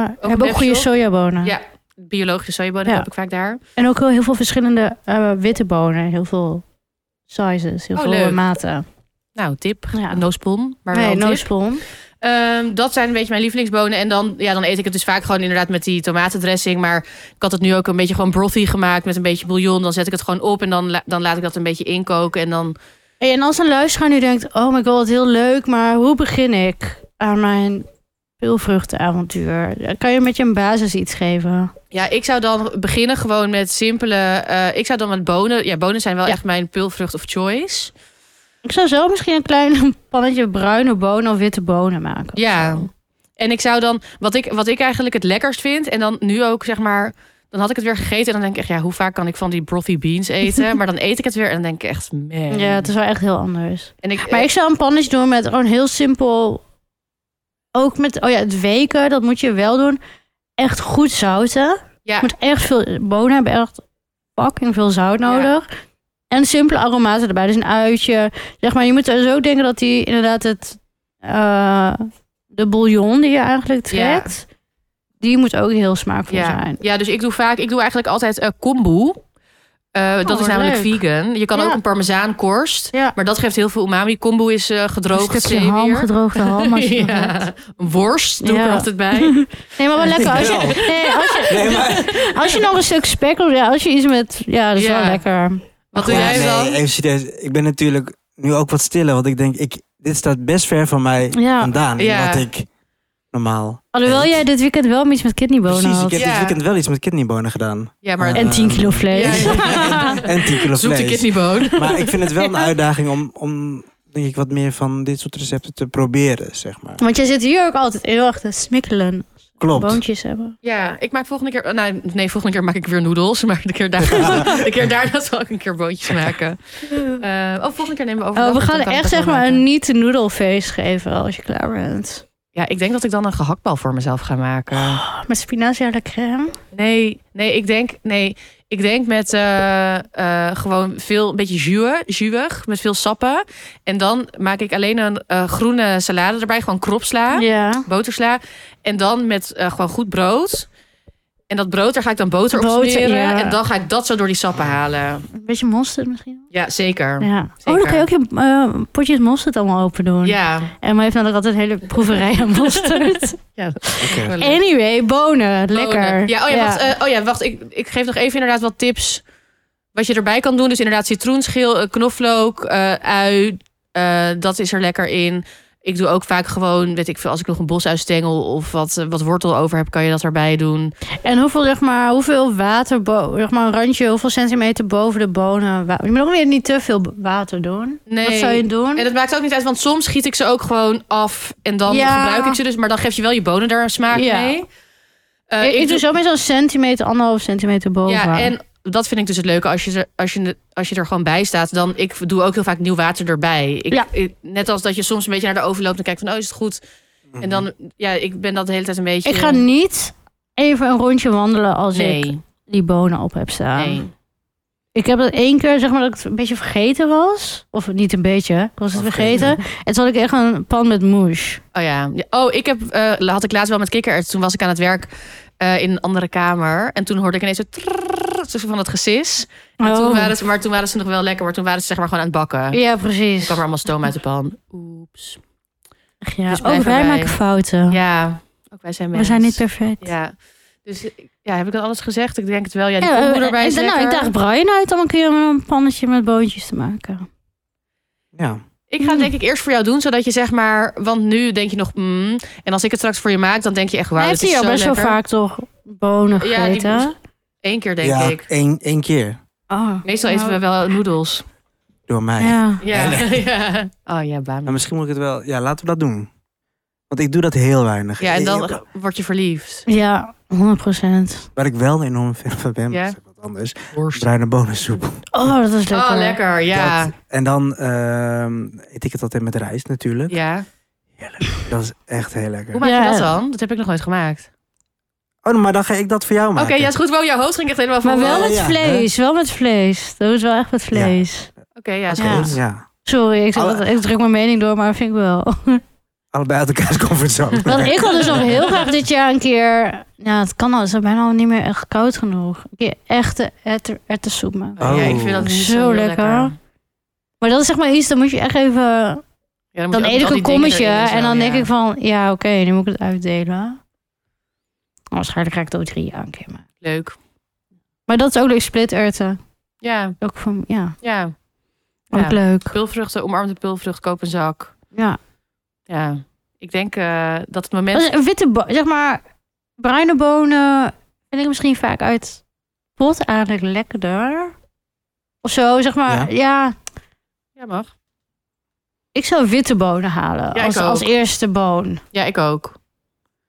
S1: hebben ook
S2: webshop.
S1: goede sojabonen.
S2: Ja. Biologische sojabonen
S1: Ja.
S2: heb ik vaak daar.
S1: En ook wel heel veel verschillende eh, witte bonen. Heel veel sizes, heel
S2: Oh,
S1: veel
S2: leuk.
S1: maten.
S2: Nou, tip.
S1: Ja.
S2: No spon, maar wel
S1: nee,
S2: een
S1: no
S2: tip.
S1: spon.
S2: Ehm, dat zijn een beetje mijn lievelingsbonen. En dan, ja, dan eet ik het dus vaak gewoon inderdaad met die tomatendressing. Maar ik had het nu ook een beetje gewoon brothy gemaakt met een beetje bouillon. Dan zet ik het gewoon op en dan, la- dan laat ik dat een beetje inkoken. En dan,
S1: Hey, en als een luisteraar nu denkt, oh my god, wat heel leuk, maar hoe begin ik aan mijn peulvruchtenavontuur? Kan je met je een basis iets geven?
S2: Ja, ik zou dan beginnen gewoon met simpele... eh, ik zou dan met bonen... Ja, bonen zijn wel
S1: Ja.
S2: echt mijn pulvrucht of choice.
S1: Ik zou zo misschien een klein pannetje bruine bonen of witte bonen maken. of
S2: Ja.
S1: zo.
S2: En ik zou dan... Wat ik, wat ik eigenlijk het lekkerst vind... En dan nu ook, zeg maar... Dan had ik het weer gegeten en dan denk ik echt... Ja, hoe vaak kan ik van die brothy beans eten? maar dan eet ik het weer en dan denk ik echt... Man.
S1: Ja, het is wel echt heel anders.
S2: en ik, eh,
S1: Maar ik zou een pannetje doen met gewoon heel simpel. Ook met, oh ja, het weken, dat moet je wel doen. Echt goed zouten.
S2: ja,
S1: Je moet echt veel, bonen hebben echt fucking veel zout
S2: Ja.
S1: nodig. En simpele aromaten erbij, dus een uitje. Zeg maar, je moet er zo denken dat die inderdaad het, eh, de bouillon die je eigenlijk
S2: Ja.
S1: trekt, die moet ook heel smaakvol
S2: ja.
S1: zijn.
S2: Ja, dus ik doe vaak, ik doe eigenlijk altijd eh kombu. Eh, dat
S1: Oh,
S2: is namelijk
S1: leuk.
S2: vegan. Je kan
S1: Ja.
S2: ook een parmezaankorst.
S1: Ja. Dus
S2: Maar dat geeft heel veel umami. Kombu is eh gedroogde
S1: een stukje ham,
S2: zeewier.
S1: gedroogde ham. Als je dat hebt.
S2: ja. Een worst doe ik
S1: Ja.
S2: er altijd bij.
S1: Nee, maar wel lekker. Als je,
S3: Wel.
S1: nee, als, je,
S3: Nee, maar...
S1: als je nog een stuk spek of ja, als je iets met... Ja, dat is
S2: Ja.
S1: wel lekker.
S2: Wat doe
S3: Ja,
S2: jij
S3: nee,
S2: dan?
S3: Even serieus. Ik ben natuurlijk nu ook wat stiller, want ik denk, ik, dit staat best ver van mij
S1: Ja.
S3: vandaan.
S2: Ja.
S3: Wat ik normaal...
S1: Alhoewel
S3: eet.
S1: jij dit weekend wel iets met kidneybonen
S3: Precies, ik
S1: had.
S3: heb
S2: Ja.
S3: dit weekend wel iets met kidneybonen gedaan.
S2: Ja, maar
S3: Eh,
S1: En 10 kilo vlees.
S2: Ja,
S3: En 10 kilo
S2: zoek de
S3: vlees.
S2: kidneyboon.
S3: Maar ik vind het wel een uitdaging om, om denk ik, wat meer van dit soort recepten te proberen, zeg maar.
S1: Want jij zit hier ook altijd heel erg te smikkelen.
S3: Klopt.
S1: Boontjes hebben.
S2: Ja, ik maak volgende keer... Nou, nee, volgende keer maak ik weer noedels. Maar de keer daarna, de keer daarna zal ik een keer boontjes maken. Eh, oh, volgende keer nemen we over.
S1: Oh, we gaan echt zeg maar een niet-noedelfeest geven als je klaar bent.
S2: Ja, ik denk dat ik dan een gehaktbal voor mezelf ga maken.
S1: Ah, Met spinazie à la crème.
S2: Nee, nee, ik denk, nee, ik denk met eh, eh, gewoon veel, een beetje jue, juwig, met veel sappen. En dan maak ik alleen een eh, groene salade erbij, gewoon kropsla,
S1: Ja.
S2: botersla. En dan met eh, gewoon goed brood. En dat brood, daar ga ik dan boter, op
S1: Boter,
S2: smeren.
S1: ja.
S2: En dan ga ik dat zo door die sappen halen.
S1: Een beetje mosterd misschien.
S2: Ja, zeker. Ja.
S1: Ja. Oh, dan kan je ook je eh, potjes mosterd allemaal open doen. En maar heeft namelijk altijd hele proeverijen aan mosterd.
S3: Oké.
S2: wel leuk.
S1: Anyway, bonen.
S2: Bonen.
S1: Lekker.
S2: Ja, oh ja, Wacht, eh, oh ja, wacht. Ik, ik geef nog even inderdaad wat tips. Wat je erbij kan doen. Dus inderdaad citroenschil, eh, knoflook, eh, ui. eh, dat is er lekker in. Ik doe ook vaak gewoon, weet ik veel, als ik nog een bosuistengel of wat, eh, wat wortel over heb, kan je dat erbij doen.
S1: En hoeveel, zeg maar, hoeveel water, bo- zeg maar een randje, hoeveel centimeter boven de bonen? wa- Je moet ook weer niet te veel water doen.
S2: Nee.
S1: Wat zou je doen?
S2: En dat maakt ook niet uit, want soms schiet ik ze ook gewoon af en dan
S1: Ja.
S2: gebruik ik ze dus. Maar dan geef je wel je bonen daar een smaak
S1: Ja.
S2: mee. Eh,
S1: ik, ik doe zo meestal een centimeter, anderhalf centimeter boven.
S2: Ja, en dat vind ik dus het leuke. Als je er, als je, als je er gewoon bij staat, dan ik doe ook heel vaak nieuw water erbij. Ik,
S1: Ja.
S2: ik- net als dat je soms een beetje naar de overloopt en kijkt van, oh, is het goed? En dan, ja, ik ben dat de hele tijd een beetje...
S1: Ik ga niet even een rondje wandelen als ik
S2: Nee,
S1: die bonen op heb staan.
S2: nee.
S1: Ik heb dat één keer, zeg maar, dat ik het een beetje vergeten was. Of niet een beetje, ik was het
S3: Oké.
S1: vergeten. En toen had ik echt een pan met mousse.
S2: Oh ja. Ja, Oh, ik heb, eh, had ik laatst wel met kikker. Toen was ik aan het werk eh, in een andere kamer. En toen hoorde ik ineens zo... trrrr, zo van dat gesis. En toen waren ze, maar toen waren ze nog wel lekker. Maar toen waren ze zeg maar gewoon aan het bakken.
S1: Oh. Ja,
S2: Toen
S1: precies.
S2: kwam er allemaal stoom uit de pan. Oeps.
S1: Ja,
S2: Dus blijf
S1: ook wij
S2: erbij.
S1: maken fouten.
S2: Ja, ook wij zijn
S1: We
S2: mensen.
S1: zijn niet perfect.
S2: Ja, dus ja, heb ik dan alles gezegd? Ik denk het wel. Ja, die
S1: Ja,
S2: kombu
S1: eh,
S2: erbij
S1: en
S2: is
S1: dan- nou, ik
S2: lekker.
S1: daag Brian uit om een keer een pannetje met boontjes te maken.
S3: Ja.
S2: Ik ga het denk ik eerst voor jou doen, zodat je zeg maar... Want nu denk je nog, mm, en als ik het straks voor je maak, dan denk je echt,
S1: Hij
S2: wauw, dit
S1: heeft
S2: is
S1: hier
S2: zo
S1: al best
S2: lekker.
S1: wel vaak toch bonen
S2: Ja, die
S1: gegeten?
S2: moest- Eén keer denk
S3: ja,
S2: ik.
S3: Één, één keer.
S1: oh.
S2: Meestal eten we wel noedels.
S3: Door mij.
S1: Ja.
S2: Ja. ja. Oh ja, baan.
S3: Maar misschien moet ik het wel... Ja, laten we dat doen. Want ik doe dat heel weinig.
S2: Ja, en
S3: Ik-
S2: dan word je verliefd.
S1: ja, 100 procent.
S3: Waar ik wel enorm fan van ben,
S2: Ja.
S3: dat is wat anders. Bruine bonensoep.
S1: Oh, dat is lekker.
S2: Oh, lekker, ja.
S3: Dat- en dan ehm, eet ik het altijd met rijst natuurlijk.
S2: ja.
S3: Dat is echt heel lekker.
S2: Hoe maak je
S1: Ja.
S2: dat dan? Dat heb ik nog nooit gemaakt.
S3: Oh, maar dan ga ik dat voor jou
S2: Oké,
S3: maken.
S2: ja, is goed. Wow, jouw hoofd ging echt helemaal van...
S1: Maar wel
S2: wow.
S1: met
S3: ja, hè?
S1: vlees, wel met vlees. Dat is wel echt met vlees.
S2: Oké, ja, is
S1: Oké.
S2: goed.
S3: Dus ja.
S1: Sorry, ik, zeg
S3: Alle-
S1: dat- ik druk mijn mening door, maar vind ik wel.
S3: Allebei uit elkaars comfortzone.
S1: Want ik wil dus nog heel graag dit jaar een keer... Nou, het kan al, het is bijna al niet meer echt koud genoeg. Een keer echte erwten- erwtensoep maken.
S2: Oh, Ja, ik vind dat niet zo, heel lekker.
S1: lekker. Maar dat is zeg maar iets, dan moet je echt even...
S2: Ja, moet je
S1: Dan
S2: ook
S1: eet ik
S2: al
S1: een
S2: die dingen
S1: kommetje
S2: erin
S1: en,
S2: zo,
S1: dan denk
S2: ja.
S1: ik van, ja oké, nu moet ik het uitdelen. Waarschijnlijk ga ik het ook drie jaar een keer maken.
S2: Leuk.
S1: Maar dat is ook leuk, splitterten.
S2: Ja,
S1: Ook van, ja,
S2: ja.
S1: ook
S2: Ja.
S1: Oh, leuk.
S2: Pulvruchten, omarmde pulvrucht, koop een zak.
S1: Ja.
S2: Ja, ik denk eh, dat het moment...
S1: Dat is een witte, bo- zeg maar, bruine bonen, vind ik misschien vaak uit pot eigenlijk lekkerder. Of zo, zeg maar. Ja,
S2: Ja, mag.
S1: ik zou witte bonen halen
S2: Ja, ik
S1: als,
S2: ook.
S1: als eerste boon.
S2: Ja, ik ook.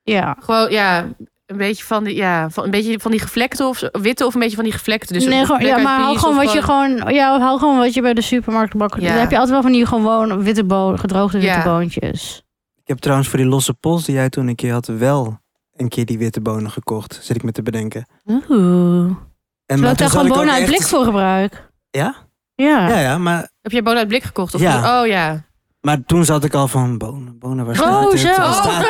S1: Ja.
S2: Gewoon, ja, een beetje van die, ja, van, een beetje van die gevlekte of zo- witte of een beetje van die gevlekte. Dus
S1: nee,
S2: een
S1: gewoon,
S2: Black
S1: ja,
S2: Eyed
S1: maar hou
S2: Peas
S1: gewoon
S2: of
S1: wat je gewoon, ja, hou gewoon wat je bij de supermarkt bakken.
S2: Ja.
S1: Dan heb je altijd wel van die gewoon witte boon, gedroogde witte
S2: Ja.
S1: boontjes.
S3: Ik heb trouwens voor die losse pols die jij toen een keer had, wel een keer die witte bonen gekocht. Zit ik me te bedenken.
S1: Oeh.
S3: En
S1: Terwijl ik daar
S3: toen zat
S1: gewoon
S3: ook
S1: bonen uit
S3: echt-
S1: blik voor gebruik.
S3: Ja?
S1: Ja.
S3: Ja, ja, maar,
S2: Heb jij bonen uit blik gekocht? Of
S3: Ja.
S2: niet? Oh ja.
S3: maar toen zat ik al van bonen, bonen,
S1: Oh,
S3: waar staat het?
S1: zo.
S3: Waar staat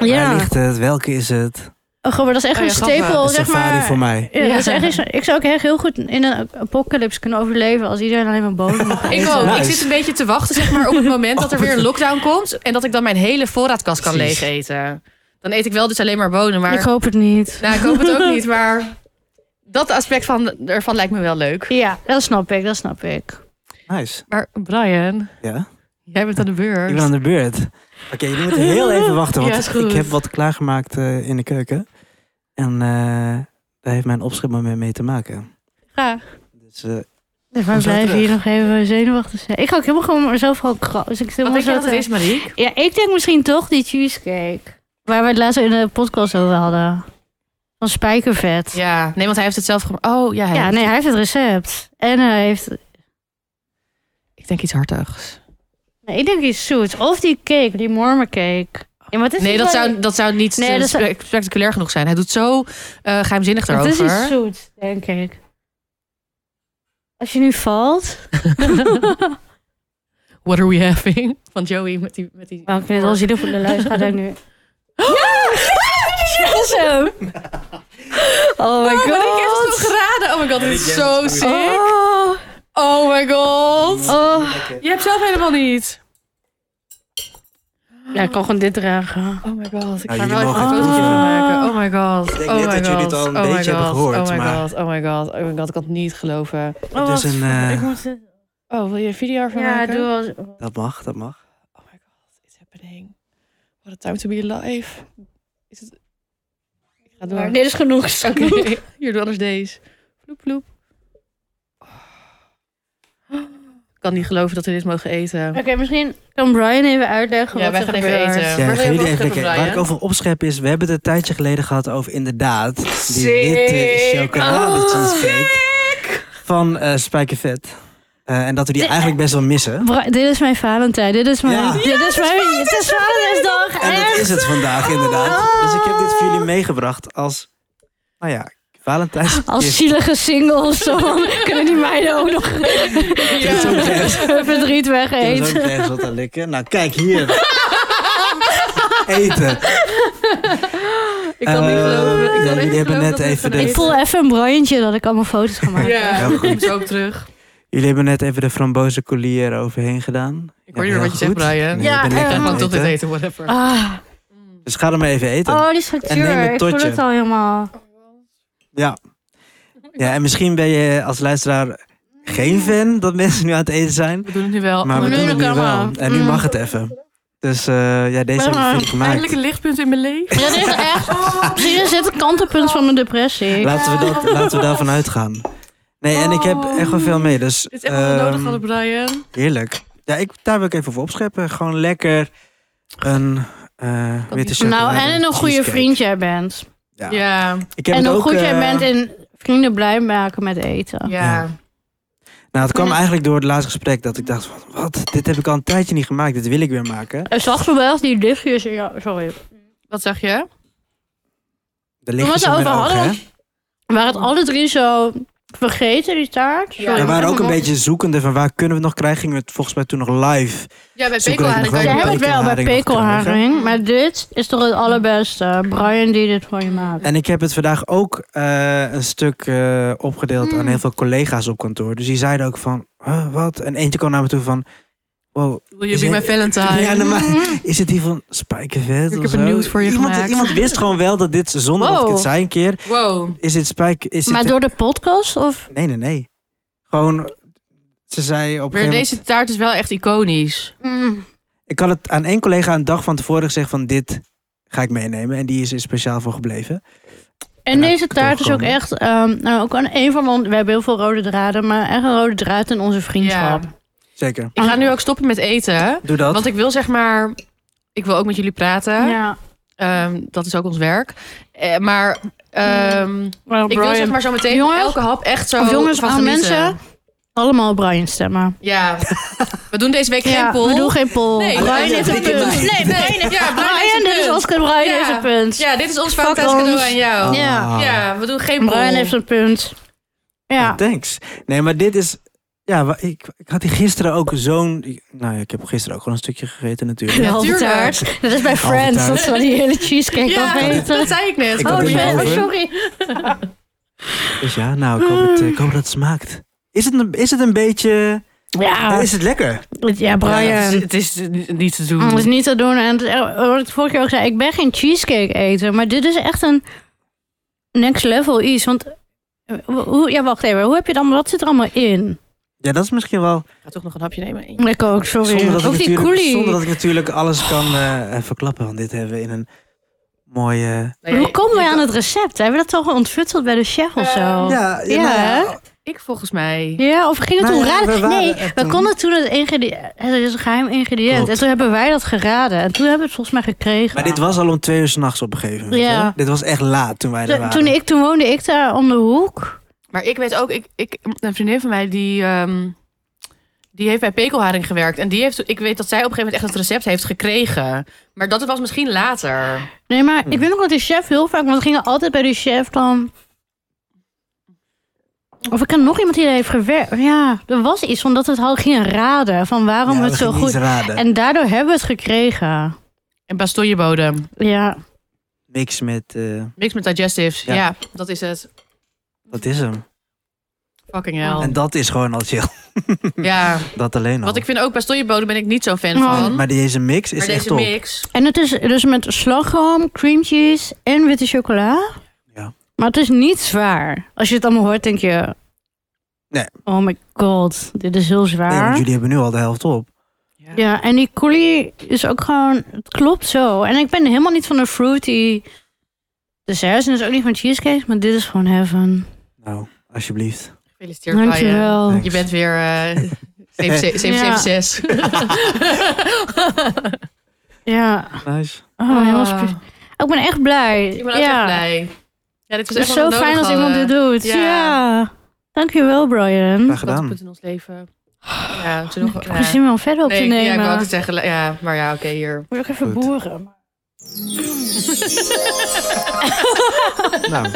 S1: Ja.
S3: Waar ligt het? Welke is het?
S1: Oh, gewoon, dat is echt
S2: Oh ja,
S1: een
S2: grappig.
S1: stapel,
S3: Een
S1: zeg
S3: safari
S1: maar.
S3: voor mij.
S1: Ja, dat is echt iets- ik zou ook echt heel goed in een apocalypse kunnen overleven als iedereen alleen maar bonen mag
S2: Ik
S1: eten.
S2: ook. Ik
S3: Nice.
S2: zit een beetje te wachten zeg maar, op het moment dat er weer een lockdown komt. En dat ik dan mijn hele voorraadkast kan
S3: Precies.
S2: leeg eten. Dan eet ik wel dus alleen maar bonen. Maar
S1: Ik hoop het niet.
S2: nou, ik hoop het ook niet. Maar dat aspect van, ervan lijkt me wel leuk.
S1: Ja, dat snap ik, dat snap ik.
S3: Nice.
S2: Maar Brian,
S3: Ja,
S2: jij bent aan de beurt.
S3: ik ben aan de beurt. Oké, jullie moeten heel even wachten,
S2: Ja,
S3: want
S2: is goed.
S3: ik heb wat klaargemaakt eh, in de keuken. En eh, daar heeft mijn opschrift maar mee, mee te maken.
S2: Ja.
S3: Dus eh,
S1: We
S3: zo
S1: blijven
S3: terug.
S1: hier nog even zenuwachtig zijn. Ik ga ook helemaal gewoon mezelf ook gra- Dus ik
S2: Wat
S1: zit helemaal
S2: denk je
S1: zo
S2: dat het
S1: te-
S2: is, Marieke?
S1: Ja, ik denk misschien toch die cheesecake. Waar we het laatst in de podcast over hadden. Van spijkervet. Ja,
S2: Ja, nee, want hij heeft het zelf gemaakt. Oh, ja. hij heeft-
S1: nee, hij heeft het recept. En hij heeft...
S2: Ik denk iets hartigs.
S1: Nee, ik denk iets zoets. Of die cake, die mormercake. Ja, maar het is
S2: Nee,
S1: niet
S2: dat
S1: wel-
S2: zou, dat zou niet
S1: Nee,
S2: eh,
S1: dat zou-
S2: spe- spectaculair genoeg zijn. Hij doet zo eh, geheimzinnig
S1: Het is iets
S2: erover.
S1: zoets, denk ik. Als je nu valt...
S2: What are we having? Van Joey met die... Met die...
S1: Nou, ik vind het wel zielig voor de luisteraar nu. Dat is hem. Oh my
S2: Oh, maar ik heb het
S1: god.
S2: toch geraden. Oh my god, dit is zo sick.
S1: Oh.
S2: Oh my god.
S1: Oh.
S2: Je hebt zelf helemaal niet.
S1: Ja, ik kan gewoon dit dragen.
S2: Oh my god. Ik
S3: Nou,
S2: ga er wel
S3: jullie
S2: even een
S1: mogen het
S2: fotootje van
S1: doen.
S2: maken. Oh my god.
S3: Ik denk
S2: oh
S3: net
S2: my
S3: dat jullie het
S2: god.
S3: al een
S2: Oh my
S3: beetje hebben
S2: god.
S3: gehoord,
S2: Oh my
S3: maar-
S2: god. Oh my god. Oh my god. Ik kan het niet geloven.
S1: Oh,
S3: Het is
S1: wat
S3: een,
S1: voor-
S3: eh,
S1: ik moet dit-
S2: Oh, wil je een video ervan
S1: Ja,
S2: maken?
S1: doe wel.
S3: dat mag, dat mag.
S2: Oh my god. It's happening. What a time to be alive. Is het... Ik ga door.
S1: Maar dit is genoeg. is
S2: Oké,
S1: genoeg.
S2: hier doe anders deze. Vloep, vloep. Ik kan niet geloven dat we dit mogen eten.
S1: Oké, misschien kan Brian even uitleggen
S2: Ja,
S1: wat
S2: wij
S1: er
S2: gaan even
S1: gebeurt.
S2: eten.
S3: Ja,
S2: Waar wil
S3: gaan
S2: je over
S3: jullie even kijken.
S2: opscheppen,
S3: Waar ik over opschep is, we hebben het een tijdje geleden gehad over inderdaad die witte
S1: Sick.
S3: chocolade
S1: Oh,
S3: cheesecake van eh Spijkervet. Eh, en dat we die eigenlijk best wel missen.
S1: Bra- dit is mijn Valentijn. Dit is mijn.
S3: Ja.
S1: dit is mijn. Het is Valentijnsdag.
S3: En dat is het vandaag inderdaad. Dus ik heb dit voor jullie meegebracht als, nou ja, Valentijns.
S1: Als zielige single of zo. Kunnen die meiden ook nog hun verdriet
S3: Kunnen ze
S1: wegeten?
S3: ook ergens wat aan likken? Nou, kijk hier. Eten.
S2: Ik kan niet
S3: Eh,
S2: geloven. Ik kan
S3: ja,
S2: echt
S3: jullie
S2: niet
S3: hebben
S2: geloven
S3: net
S2: dat we
S3: even
S2: dit
S3: de-
S1: Ik voel even een Briantje dat ik allemaal foto's ga maken.
S2: Ja,
S3: Heel goed.
S2: ik moet ook terug.
S3: Jullie hebben net even de framboze collier overheen gedaan.
S2: Ik hoor niet meer wat je zegt, Brian.
S3: Nee, ik ben
S1: Ja,
S3: lekker
S1: eh,
S2: Ik ga
S3: aan
S2: gewoon
S3: het
S2: tot dit
S3: eten.
S2: eten, whatever.
S1: Ah.
S3: Dus ga er maar even eten.
S1: Oh, die
S3: En neem
S1: structuur.
S3: een
S1: Ik voel
S3: totje.
S1: het al helemaal.
S3: Ja. ja, en misschien ben je als luisteraar geen fan dat mensen nu aan het eten zijn.
S2: Oh, We doen het nu wel.
S3: Maar we
S1: nu
S3: doen het nu
S1: kan
S3: wel.
S1: wel.
S3: En nu
S1: Mm.
S3: mag het even. Dus eh,
S1: Maar,
S3: ja, deze hebben we
S1: eh,
S3: jullie
S2: Eindelijk
S3: gemaakt.
S2: een lichtpunt in mijn leven.
S1: Ja, dit is echt.
S2: Oh.
S1: Dit is het kantelpunt van mijn depressie.
S3: Laten we, dat, laten we daarvan uitgaan. Nee, en ik heb echt wel veel mee. Dus,
S2: Dit is echt wel nodig
S3: ehm,
S2: hadden, Brian.
S3: Heerlijk. Ja, ik, daar wil ik even voor opscheppen. Gewoon lekker een eh witte chocolade.
S1: Nou, en een goede
S3: cheesecake.
S1: vriend jij bent.
S3: Ja.
S2: Ja,
S3: Ik heb
S1: en
S3: het
S1: hoe
S3: ook,
S1: goed jij
S3: eh,
S1: bent in vrienden blij maken met eten.
S2: ja.
S3: Nou, het kwam eigenlijk door het laatste gesprek dat ik dacht van... Wat? Dit heb ik al een tijdje niet gemaakt. Dit wil ik weer maken.
S1: En zag je wel die lichtjes in jou... Sorry.
S2: Wat zag je?
S1: we
S3: De lichtjes
S1: het
S3: in mijn
S1: over
S3: ogen,
S1: hadden,
S3: hè?
S1: Waren het alle drie zo vergeten, die taart? Sorry,
S2: Ja,
S3: We
S1: ik
S3: waren
S1: heb
S3: ook
S1: hem
S3: een beetje zoekende van waar kunnen we het nog krijgen. Gingen we het volgens mij toen nog live.
S2: Ja, bij
S3: Zoeken
S2: Pekel
S3: dat ik nog
S1: Ze
S3: wel
S1: hebben het wel bij
S3: pekelharing nog kunnen
S1: pekelharing, maar dit is toch het allerbeste. Brian die dit voor je maakt.
S3: En ik heb het vandaag ook eh, een stuk eh, opgedeeld
S1: Hmm.
S3: aan heel veel collega's op kantoor. Dus die zeiden ook van, huh, wat? En eentje kwam naar me toe van, wow,
S2: Wil je
S3: Is
S2: bij
S3: hij-
S2: mijn Valentine?
S3: Ja, nou, maar is het hier van spijkervet?
S2: Mm. Ik
S3: of
S2: heb
S3: zo?
S2: een nieuws voor je
S3: iemand,
S2: gemaakt.
S3: Iemand wist gewoon wel dat dit, zonder dat ik
S1: Wow.
S3: het zei een keer,
S2: Wow.
S3: is dit spijker... Is
S1: Maar
S3: dit-
S1: door de podcast? Of?
S3: Nee, nee, nee. Gewoon, ze zei op een
S2: Maar
S3: gegeven moment...
S2: deze taart is wel echt iconisch.
S1: Mm.
S3: Ik had het aan één collega een dag van tevoren gezegd van dit ga ik meenemen. En die is er speciaal voor gebleven.
S1: En
S3: Ja,
S1: deze
S3: ik kan
S1: taart is ook
S3: komen.
S1: echt, ehm, nou ook aan een van onze, we hebben heel veel rode draden, maar echt een rode draad in onze vriendschap.
S3: Zeker.
S2: Ik ga nu ook stoppen met eten.
S3: Doe dat.
S2: Want ik wil zeg maar... Ik wil ook met jullie praten. Ehm, dat is ook ons werk. Eh, maar ehm,
S1: Wel,
S2: ik wil
S1: Brian.
S2: zeg maar zo meteen
S1: Jongens?
S2: elke hap echt zo
S1: Of jongens,
S2: van
S1: aan
S2: genieten.
S1: mensen. Allemaal Brian stemmen.
S2: Ja. We doen deze week geen
S1: ja,
S2: poll.
S1: we doen geen poll.
S2: Nee,
S1: Brian
S2: Brian
S1: heeft een
S3: heeft een
S1: punt.
S3: punt.
S2: Nee,
S1: Nee,
S2: nee, ja, Brian heeft
S1: Brian,
S2: een
S1: dit is
S2: punt.
S1: Oscar Brian
S2: Ja.
S1: heeft een punt.
S2: Ja, dit is ons
S1: Fuck
S2: Valentijns
S1: ons.
S2: cadeau aan jou.
S1: ja.
S3: Ah.
S2: Ja, we doen geen poll.
S1: Brian heeft een punt. Ja,
S3: Thanks. Nee, maar dit is... Ja, wa- ik, ik had hier gisteren ook zo'n... Nou ja, ik heb gisteren ook gewoon een stukje gegeten natuurlijk.
S2: Ja,
S1: halve
S2: tuurlijk.
S1: taart. Dat is bij
S3: Halve
S1: Friends,
S3: taart.
S1: dat ze wel die hele cheesecake
S2: Ja,
S1: afeten.
S2: dat zei ik net.
S3: Ik
S1: Oh,
S3: had
S1: ik
S3: die
S1: ben-
S3: halve.
S1: oh, sorry.
S3: Dus ja, nou, ik hoop, het, eh, ik hoop dat het smaakt. Is het, een- is het een beetje...
S1: Ja,
S3: Is het lekker?
S1: ja Brian.
S2: het is niet te
S1: Dat is
S2: doen.
S1: niet te doen. En het- eh, wat ik vorige keer ook zei, ik ben geen cheesecake eter. Maar dit is echt een next level iets. Want, eh, hoe, ja, wacht even. Hoe heb je dan, wat zit er allemaal in?
S3: Ja, dat is misschien wel...
S2: Ik ga toch nog een hapje nemen.
S1: Ik ook, sorry.
S3: Zonder dat,
S1: ook
S3: ik
S1: die
S3: natuurlijk,
S1: coolie.
S3: zonder dat ik natuurlijk alles kan eh, verklappen. Want dit hebben we in een mooie...
S2: Nee,
S1: hoe komen wij
S2: ik-
S1: aan het recept? Hebben we dat toch ontfutseld bij de chef
S2: Eh,
S1: of zo?
S3: Ja,
S1: Oh. ja,
S3: nou
S1: hè?
S2: Ik volgens mij.
S1: Ja, of ging het
S3: Nou
S1: toen
S3: ja,
S1: raden?
S3: we waren
S1: nee,
S3: er
S1: we
S3: toen.
S1: konden toen het ingrediënt... Het is een geheim ingrediënt.
S3: Klopt.
S1: En toen hebben wij dat geraden. En toen hebben we het volgens mij gekregen.
S3: Maar dit was al om twee uur s'nachts op een gegeven moment.
S1: Ja.
S3: hè? Dit was echt laat toen wij er
S1: Toen-
S3: waren.
S1: toen, ik, toen woonde ik daar om de hoek.
S2: Maar ik weet ook, ik, ik, een vriendin van mij die, ehm, die heeft bij Pekelharing gewerkt. En die heeft, ik weet dat zij op een gegeven moment echt het recept heeft gekregen. Maar dat was misschien later.
S1: Nee, maar
S3: Hm.
S1: ik weet nog dat de chef heel vaak, want we gingen altijd bij de chef dan. Of ik ken nog iemand die daar heeft gewerkt. Ja, er was iets van dat we het hadden gingen raden. Van waarom
S3: Ja, we
S1: het zo
S3: gingen
S1: goed.
S3: iets raden.
S1: En daardoor hebben we het gekregen.
S2: En pastoiebodem.
S1: Ja.
S3: Niks met... eh,
S2: Mix met digestives. Ja.
S3: Ja.
S2: dat is het.
S3: dat is hem.
S2: Fucking
S3: En
S1: Oh.
S2: hell.
S3: dat is gewoon al chill.
S2: Ja,
S3: Dat alleen al.
S2: wat ik vind ook pastoiebodem ben ik niet zo'n fan
S1: Oh.
S2: van. Maar,
S3: Nou. Maar deze mix is echt
S2: deze
S3: top.
S2: mix.
S1: En het is dus met slagroom, cream cheese en witte chocola.
S3: Ja.
S1: Maar het is niet zwaar. Als je het allemaal hoort, denk je.
S3: Nee.
S1: Oh my god, dit is heel
S3: Nee,
S1: zwaar.
S3: want jullie hebben nu al de helft op.
S1: Ja, en die coulis is ook gewoon... Het klopt zo. En ik ben helemaal niet van de fruity desserts. En dus ook niet van cheesecake. Maar dit is gewoon heaven.
S3: Nou, alsjeblieft.
S2: Gefeliciteerd, Brian.
S1: Dankjewel.
S3: Brian.
S2: Je bent weer eh 776.
S1: Ja.
S3: Nice.
S1: Oh, helemaal spe- Oh, Ik ben echt blij.
S2: ik ben Ah. ook
S1: ja.
S2: echt blij. Ja, dit was
S1: Het is
S2: echt
S1: zo fijn als iemand dit doet.
S2: Ja.
S1: Ja. Dankjewel, Brian.
S3: Graag
S2: Dat
S3: gedaan.
S2: punt in ons leven. Ja, toen nog...
S1: Ik heb geen zin meer om verder op te
S2: nee, ja, ik
S1: nemen.
S2: wou
S1: Ja,
S2: het zeggen. Ja, maar ja, oké, hier.
S1: Moet ik even
S3: Goed.
S1: boeren.
S3: Nou,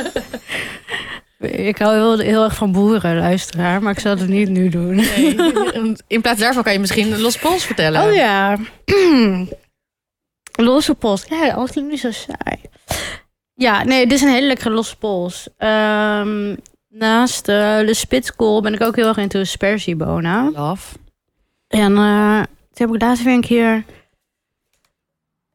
S1: Ik hou heel, heel erg van boeren, luisteraar. Maar ik zal het niet nu doen.
S2: In plaats daarvan kan je misschien een Los Pols vertellen.
S1: Oh ja. losse pols. Ja, alles klinkt nu zo saai. Ja, nee, dit is een hele lekkere losse pols. Ehm, naast eh, de spitskool ben ik ook heel erg into sperziebonen.
S2: Love.
S1: En eh, toen heb ik laatst weer een keer...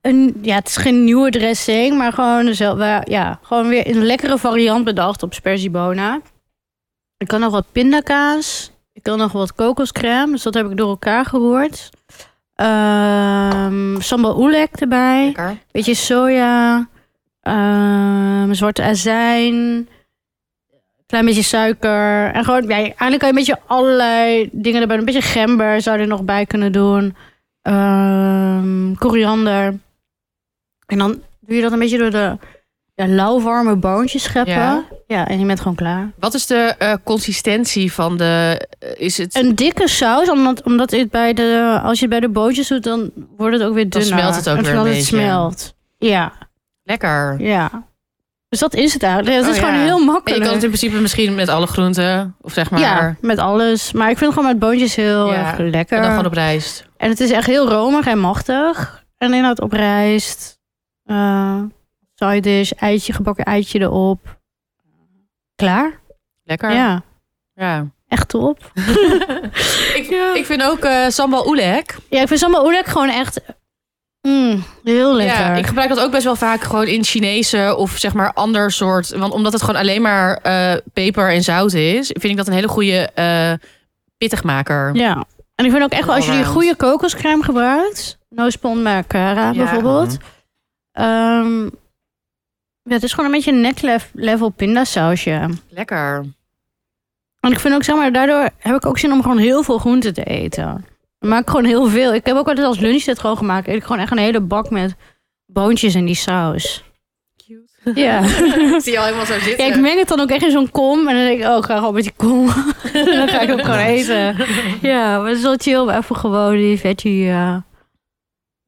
S1: Een, ja, het is geen nieuwe dressing, maar gewoon, dezelfde- waar- ja, gewoon weer een lekkere variant bedacht op sperziebonen. Ik kan nog wat pindakaas. Ik kan nog wat kokoscrème. Dus dat heb ik door elkaar geroerd. Ehm sambal oelek erbij.
S2: Lekker.
S1: Beetje soja. ehm, zwarte azijn. Klein beetje suiker. En gewoon, ja, eigenlijk kan je een beetje allerlei dingen erbij doen. Een beetje gember zou je er nog bij kunnen doen. Ehm, koriander. En dan doe je dat een beetje door de ja, lauwwarme boontjes scheppen.
S2: Ja.
S1: Ja. en je bent gewoon klaar.
S2: Wat is de eh, consistentie van de... eh, is het...
S1: Een dikke saus, omdat, omdat het bij de, als je het bij de bootjes doet, dan wordt het ook weer
S2: Dan
S1: dunner.
S2: smelt het ook
S1: en
S2: weer
S1: vooral
S2: een
S1: het
S2: beetje.
S1: smelt. Ja,
S2: Lekker.
S1: ja. Dus dat is het eigenlijk. Het
S2: Oh,
S1: is gewoon
S2: ja.
S1: heel
S2: En je
S1: makkelijk.
S2: kan het in principe misschien met alle groenten. Of zeg maar...
S1: Ja, met alles. Maar ik vind het gewoon met boontjes
S2: Ja,
S1: heel erg lekker.
S2: En dan gewoon op rijst.
S1: En het is echt heel romig en machtig. En inderdaad op rijst. eh side dish, eitje, gebakken eitje erop. Klaar?
S2: Lekker.
S1: Ja,
S2: Ja.
S1: echt top.
S2: ik, ik vind ook eh, sambal oelek.
S1: Ja, ik vind sambal oelek gewoon echt mm, heel lekker.
S2: Ja, ik gebruik dat ook best wel vaak gewoon in Chinese of zeg maar ander soort. Want omdat het gewoon alleen maar eh, peper en zout is, vind ik dat een hele goede eh, pittigmaker.
S1: Ja. En ik vind ook echt wel, als je die
S2: Allround.
S1: goede kokoscrème
S3: Mhm.
S1: gebruikt, no spon maar eh, Cara
S2: Ja.
S1: bijvoorbeeld, ehm, Ja, het is gewoon een beetje een neck-level pindasausje.
S2: Lekker.
S1: En ik vind ook, zeg maar, daardoor heb ik ook zin om gewoon heel veel groente te eten. Ik maak gewoon heel veel. Ik heb ook altijd als lunch dit gewoon gemaakt. Eet ik gewoon echt een hele bak met boontjes in die saus.
S2: Cute.
S1: Ja.
S2: Ik zie je al helemaal zo
S1: ja
S2: zitten.
S1: ik meng het dan ook echt in zo'n kom. En dan denk ik, oh, ik ga gewoon met die kom. en dan ga ik ook gewoon eten. Ja, maar het is wel chill om even gewoon die veggie... eh,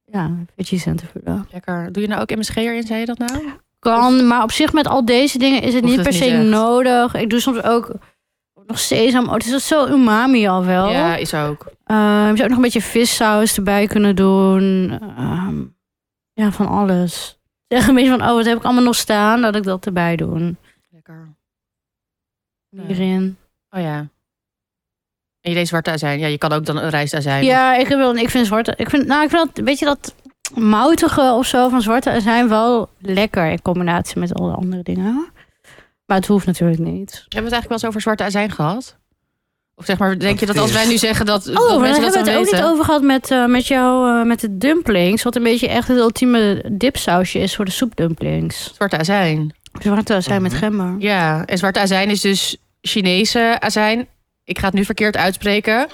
S1: ja, veggies in te vullen.
S2: Lekker. Doe je nou ook MSG erin, zei je dat nou?
S1: Kan, maar op zich met al deze dingen is het
S2: Hoeft
S1: niet per
S2: het
S1: se
S2: niet echt.
S1: nodig. Ik doe soms ook nog sesam. Oh, het is dat zo umami al wel.
S2: Ja, is ook.
S1: Ehm, je zou ook nog een beetje vissaus erbij kunnen doen. Ehm, ja, van alles. Zeg een beetje van, oh, wat heb ik allemaal nog staan? Dat ik dat erbij doe.
S2: Lekker.
S1: Hierin.
S2: Oh ja. En je deed zwarte azijn. Ja, je kan ook dan een rijstazijn.
S1: Ja, ik, heb wel, ik vind zwarte... Ik vind, nou, ik vind dat, weet je, dat moutige of zo van zwarte zijn wel lekker in combinatie met alle andere dingen. Maar het hoeft natuurlijk niet.
S2: Hebben we het eigenlijk wel eens over zwarte azijn gehad? Of zeg maar, denk je dat
S3: Wat
S2: als
S3: is-
S2: wij nu zeggen dat,
S1: Oh,
S2: dat
S1: daar
S2: mensen
S1: hebben
S2: dat
S1: we
S2: dan
S1: het ook
S2: weten?
S1: niet over gehad met, eh, met jou, eh, met de dumplings. Wat een beetje echt het ultieme dipsausje is voor de soepdumplings.
S2: Zwarte azijn.
S1: Zwarte zijn met
S3: Mhm.
S1: gember.
S2: Ja, en zwarte azijn is dus Chinese azijn. Ik ga het nu verkeerd uitspreken.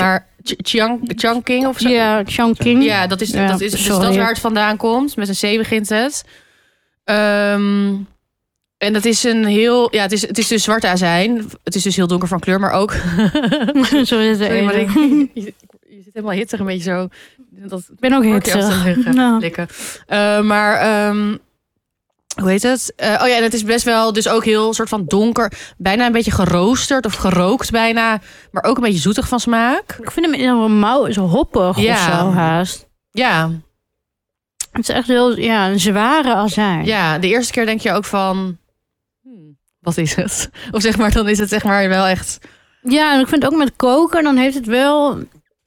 S2: Maar Ch- Chiang, Changking of zo?
S1: Ja, Chongqing.
S2: Ja, dat is,
S1: Hm? Ja,
S2: dat is de
S1: sorry.
S2: stad waar het vandaan komt. Met een C begint het. Ehm, en dat is een heel... Ja, het is, het is dus zwarte azijn. Het is dus heel donker van kleur, maar ook...
S1: Sorry, dat is de
S2: Sorry, maar
S1: ene.
S2: ik, je, je zit helemaal hittig een beetje zo... Dat
S1: Ik ben ook Nou,
S2: Kortje af
S1: hitsig.
S2: te liggen,
S1: Ja.
S2: likken. Eh, maar ehm, hoe heet het? Eh, oh ja, en het is best wel dus ook heel soort van donker. Bijna een beetje geroosterd of gerookt bijna. Maar ook een beetje zoetig van smaak.
S1: Ik vind hem in een mouw zo hoppig
S2: Ja.
S1: of zo haast.
S2: Ja,
S1: Het is echt heel, ja, een zware azijn.
S2: ja, de eerste keer denk je ook van... hmm, Wat is het? Of zeg maar, dan is het zeg maar wel echt...
S1: Ja, en ik vind ook met koken, dan heeft het wel...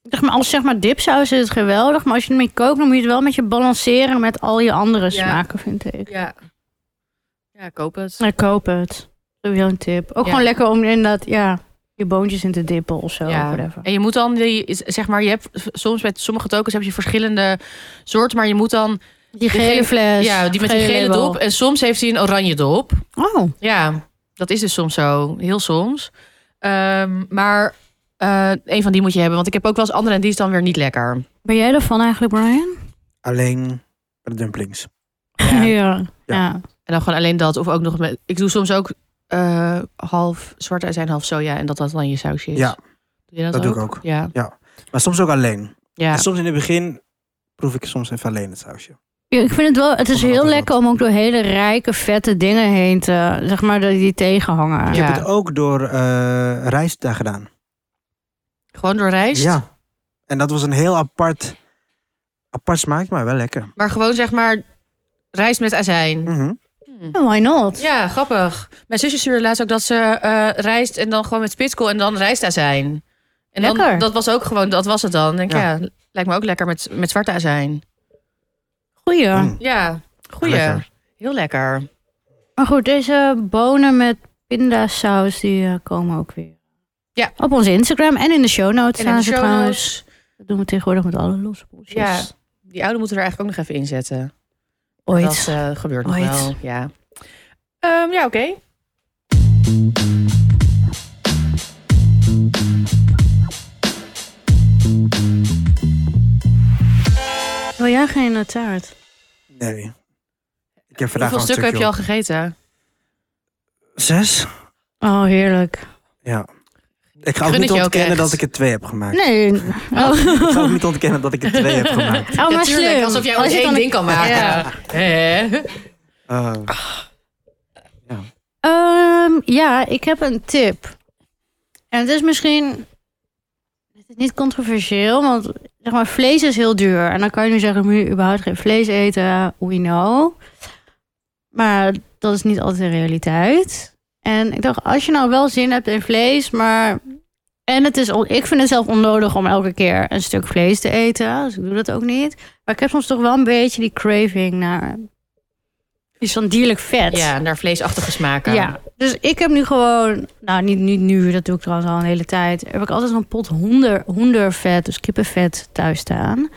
S1: Zeg maar, als zeg maar dipsaus is het geweldig, maar als je ermee kookt, dan moet je het wel met je balanceren met al je andere smaken, vind ik.
S2: Ja, ja koop het.
S1: Maar koop het. Sowieso een tip. Ook
S2: Ja.
S1: gewoon lekker om inderdaad, ja, je boontjes in te dippen of zo. of whatever.
S2: En je moet dan, die, is- zeg maar, je hebt soms met sommige tokens heb je verschillende soorten, maar je moet dan,
S1: Die gele
S2: gele-
S1: fles.
S2: ja, die met die gele
S1: label.
S2: dop. En soms heeft hij een oranje dop.
S1: Oh,
S2: Ja, dat is dus soms zo. Heel soms. Ehm, maar eh een van die moet je hebben. Want ik heb ook wel eens andere en die is dan weer niet lekker.
S1: ben jij ervan eigenlijk, Brian?
S3: Alleen bij de dumplings.
S2: Ja.
S1: ja. ja.
S2: En dan gewoon alleen dat. Of ook nog met... Ik doe soms ook eh, half zwarte azijn, half soja. En dat dat dan je sausje is.
S3: Ja.
S2: Doe je dat,
S3: Dat doe
S2: ook?
S3: ik ook.
S2: Ja.
S3: Maar soms ook alleen.
S2: Ja.
S3: En Dus soms in het begin proef ik soms even alleen het sausje.
S1: Ja, ik vind het wel, het is
S3: Omdat
S1: heel
S3: het
S1: lekker om ook door hele rijke, vette dingen heen te, zeg maar, dat die tegenhangen.
S2: Ja.
S3: Ik heb het ook door eh rijst daar gedaan.
S2: Gewoon door rijst.
S3: Ja. En dat was een heel apart, apart smaak, maar wel lekker.
S2: Maar gewoon zeg maar rijst met azijn.
S3: Mhm.
S2: Hm.
S1: Ja, Why not?
S2: Ja, grappig. Mijn zusje stuurde laatst ook dat ze eh, rijst en dan gewoon met spitskool en dan rijstazijn. En dan,
S1: Lekker.
S2: dat was ook gewoon, dat was het dan. Denk, ja.
S3: Ja.
S2: lijkt me ook lekker met, met zwarte azijn.
S1: Goeie.
S3: Mm.
S2: Ja, goeie.
S3: Lekker.
S2: Heel lekker.
S1: Maar goed, deze bonen met pindasaus, die eh, komen ook weer.
S2: Ja.
S1: Op onze Instagram en in de show
S2: En
S1: notes
S2: in
S1: staan
S2: de
S1: ze
S2: show
S1: trouwens.
S2: notes.
S1: Dat doen we tegenwoordig met alle losse poesjes.
S2: Ja, die oude moeten we er eigenlijk ook nog even inzetten.
S1: Ooit.
S2: Dat eh, gebeurt nog
S1: Ooit.
S2: wel. Ja, Ehm, ja oké.
S1: Wil jij geen eh, taart?
S3: Nee. Ik heb
S2: Hoeveel
S3: vandaag al een
S2: stukken heb je
S3: stukje
S2: al
S3: op.
S2: gegeten?
S3: Zes?
S1: Oh, heerlijk.
S3: Ja. Ik ga
S2: Gun
S3: ook
S2: het
S3: niet
S2: je ook
S3: ontkennen
S2: echt.
S3: dat ik er twee heb gemaakt.
S1: Nee. Oh,
S3: Ik ga ook niet ontkennen dat ik er twee heb gemaakt.
S1: oh, maar
S2: Natuurlijk,
S1: slim.
S2: alsof jij
S1: Als
S2: ooit
S1: je
S2: één
S1: dan-
S2: ding kan maken.
S1: Ja.
S2: Hè?
S3: Eh,
S1: Ehm, ja, ik heb een tip. En het is misschien het is niet controversieel, want zeg maar, vlees is heel duur. En dan kan je nu zeggen, moet je überhaupt geen vlees eten, we know. Maar dat is niet altijd de realiteit. En ik dacht, als je nou wel zin hebt in vlees, maar... En het is, on- ik vind het zelf onnodig om elke keer een stuk vlees te eten. Dus ik doe dat ook niet. Maar ik heb soms toch wel een beetje die craving naar... Iets van dierlijk vet.
S2: Ja, naar vleesachtige smaken.
S1: Ja, dus ik heb nu gewoon, nou niet, niet nu, dat doe ik trouwens al een hele tijd. Heb ik altijd zo'n pot honder, hondervet, dus kippenvet thuis staan.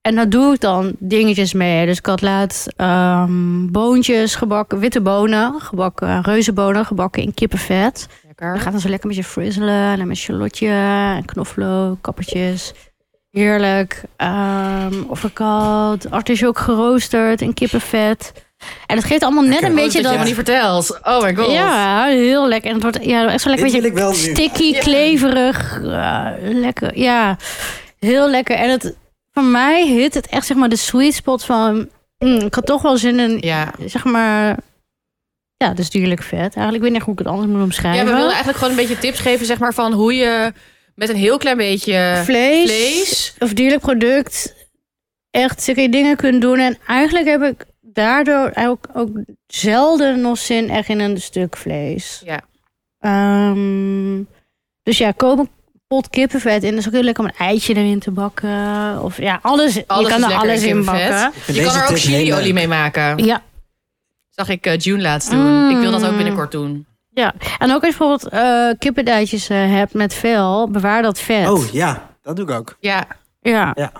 S1: En daar doe ik dan dingetjes mee. Dus ik had laatst ehm, boontjes gebakken, witte bonen, gebakken, eh, reuzenbonen gebakken in kippenvet. Dan
S2: Lekker.
S1: gaat dan zo lekker met je frizzelen en met shallotje en knoflook, kappertjes. Heerlijk. Ehm overkald, artisjok geroosterd in kippenvet. En het geeft allemaal net
S3: Lekker.
S1: een beetje
S2: je
S1: dat...
S2: dat helemaal niet vertelt. Oh my god.
S1: Ja, heel lekker. En het wordt ja, echt zo lekker
S3: Dit
S1: beetje
S3: wil ik wel nu.
S1: sticky,
S2: Ja.
S1: kleverig. eh, lekker, ja. Heel lekker. En het, voor mij hit het echt zeg maar de sweet spot van... mm, ik had toch wel zin in,
S2: Ja.
S1: zeg maar... Ja, dus dierlijk vet. Eigenlijk weet ik niet hoe ik het anders moet
S2: Ja,
S1: omschrijven.
S2: we willen eigenlijk gewoon een beetje tips geven, zeg maar, van hoe je met een heel klein beetje
S1: vlees,
S2: Eh, vlees.
S1: of dierlijk product echt zulke dingen kunt doen. En eigenlijk heb ik daardoor ook, ook zelden nog zin echt in een stuk vlees.
S2: Ja.
S1: Ehm, dus ja, koop een pot kippenvet in. Dat is ook heel leuk om een eitje erin te bakken. Of ja, alles.
S2: Alles
S1: je
S2: is
S1: kan er
S2: lekker
S1: alles
S2: in
S1: in
S2: kippenvet.
S1: bakken.
S3: Ik vind
S2: Je kan
S3: deze
S2: er ook
S3: tip heel
S2: chiliolie
S3: leuk.
S2: mee maken.
S1: Ja.
S2: Zag ik eh, June laatst doen. Ik wil dat ook binnenkort doen.
S1: En ook als je bijvoorbeeld eh kippenduitjes eh, hebt met vel, bewaar dat vet.
S3: Oh ja, dat doe ik ook. Oh,
S2: Ja,
S1: Ja.
S3: Ja.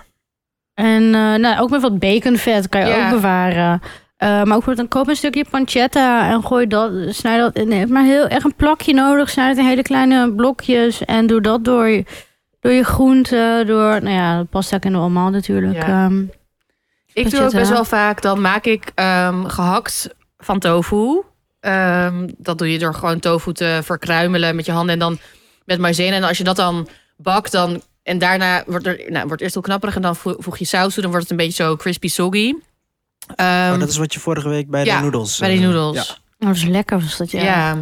S1: En eh, nou, ook met wat baconvet kan je
S2: Ja.
S1: ook bewaren. Eh, maar ook bijvoorbeeld, dan koop een stukje pancetta en gooi dat, snijd dat in. Je hebt maar heel echt een plakje nodig. Snijd het in hele kleine blokjes en doe dat door, je- door je groenten, door, nou ja, pasta kennen we allemaal natuurlijk.
S2: Ja.
S1: Ehm,
S2: ik doe ook
S1: Pancetta.
S2: best wel vaak. Dan maak ik ehm, gehakt van tofu. Ehm, dat doe je door gewoon tofu te verkruimelen met je handen en dan met maïzena. En als je dat dan bakt, dan en daarna wordt er nou, wordt eerst heel knapperig en dan vo- voeg je saus toe. Dan wordt het een beetje zo crispy soggy. Ehm,
S3: Oh, dat is wat je vorige week bij
S2: ja,
S3: de noedels...
S2: bij die
S3: eh,
S2: noedels.
S3: ja.
S1: nou, dat is lekker was dat, ja.
S2: Ja.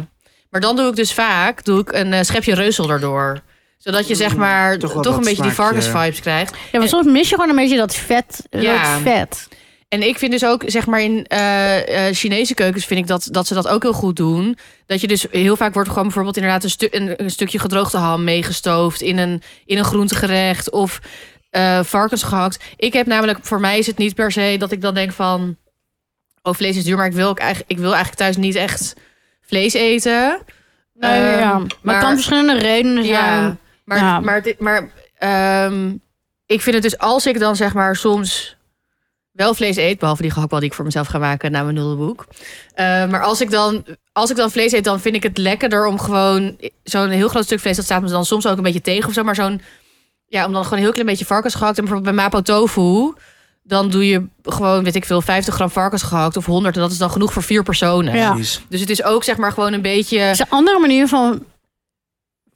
S2: Maar dan doe ik dus vaak doe ik een eh, schepje reuzel erdoor. Zodat je zeg
S3: Mm,
S2: maar
S3: toch
S2: toch,
S3: wel
S2: een
S3: dat
S2: beetje die
S3: smaakje.
S2: varkensvibes krijgt.
S1: Ja, maar soms mis je gewoon een beetje dat vet.
S2: Ja.
S1: Dat vet.
S2: En ik vind dus ook, zeg maar in eh, eh, Chinese keukens vind ik dat, dat ze dat ook heel goed doen. Dat je dus heel vaak wordt gewoon bijvoorbeeld inderdaad een, stu- een, een stukje gedroogde ham meegestoofd in een, in een groentegerecht of eh varkens gehakt. Ik heb namelijk, voor mij is het niet per se dat ik dan denk van, oh vlees is duur, maar ik wil, ook eigenlijk, ik wil eigenlijk thuis niet echt vlees eten.
S1: Nee,
S2: Ehm,
S1: Eh, ja. Maar, het kan verschillende redenen zijn.
S2: Ja, maar,
S1: Ja.
S2: maar, dit, maar ehm, ik vind het dus als ik dan zeg maar soms wel vlees eet, behalve die gehaktbal die ik voor mezelf ga maken na mijn noedelboek. Eh, maar als ik, dan, als ik dan vlees eet, dan vind ik het lekkerder om gewoon zo'n heel groot stuk vlees, dat staat me dan soms ook een beetje tegen of zo, maar zo'n, ja, om dan gewoon een heel klein beetje varkens gehakt. En bijvoorbeeld bij Mapo Tofu, dan doe je gewoon, weet ik veel, 50 gram varkens gehakt of 100 en dat is dan genoeg voor vier personen.
S1: Ja.
S3: Precies.
S2: Dus het is ook zeg maar gewoon een
S1: Het
S2: beetje,
S1: is een andere manier van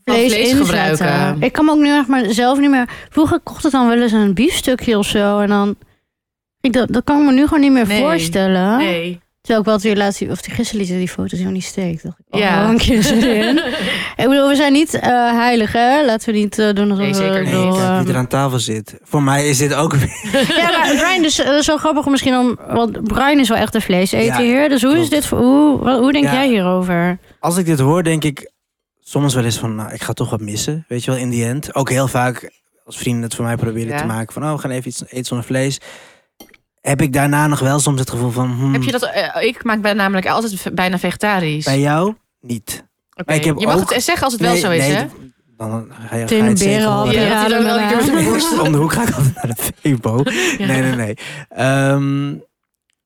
S1: vlees,
S2: vlees
S1: inzetten.
S2: gebruiken.
S1: Ik kan me ook nu echt maar zelf niet meer... Vroeger kocht het dan wel eens een biefstukje of zo. En dan... Ik, dat, dat kan ik me nu gewoon niet meer
S2: Nee.
S1: voorstellen.
S2: nee.
S1: Terwijl ik wel weer laatst... Of die gisteren lieten die foto's helemaal niet steek. Dacht ik, oh,
S2: Ja.
S1: ja. erin. ik bedoel, we zijn niet eh, heilig, hè? Laten we niet eh, doen alsof
S2: Nee, zeker
S1: we...
S2: niet.
S1: bedoel,
S3: Nee, kijk,
S1: ehm,
S3: wie er aan tafel zit. Voor mij is dit ook weer...
S1: ja, maar Brian, dus, eh, dat is wel grappig om misschien om... Want Brian is wel echt een vleeseter
S3: Ja,
S1: hier. Dus hoe
S3: klopt.
S1: is dit voor... Hoe, wat- hoe denk
S3: Ja.
S1: jij hierover?
S3: Als ik dit hoor, denk ik soms wel eens van... Nou, ik ga toch wat missen, weet je wel, in die end. Ook heel vaak als vrienden het voor mij proberen
S2: Ja.
S3: te maken. Van, oh, we gaan even iets eten zonder vlees. Heb ik daarna nog wel soms het gevoel van... hmm,
S2: Heb je dat? eh, ik maak ben namelijk altijd v- bijna vegetarisch.
S3: Bij jou? Niet.
S2: Oké,
S3: ik heb
S2: je mag
S3: ook-
S2: het zeggen als het wel zo is, hè?
S3: Dan ga je, ga je
S1: Tegen
S3: het
S1: beren
S3: zeker
S1: al.
S3: horen.
S2: Ja, dat hij dan elke keer met zijn
S1: Ja.
S2: borst-
S3: Om de hoek ga ik altijd naar de Febo. Nee, nee, nee. Ehm,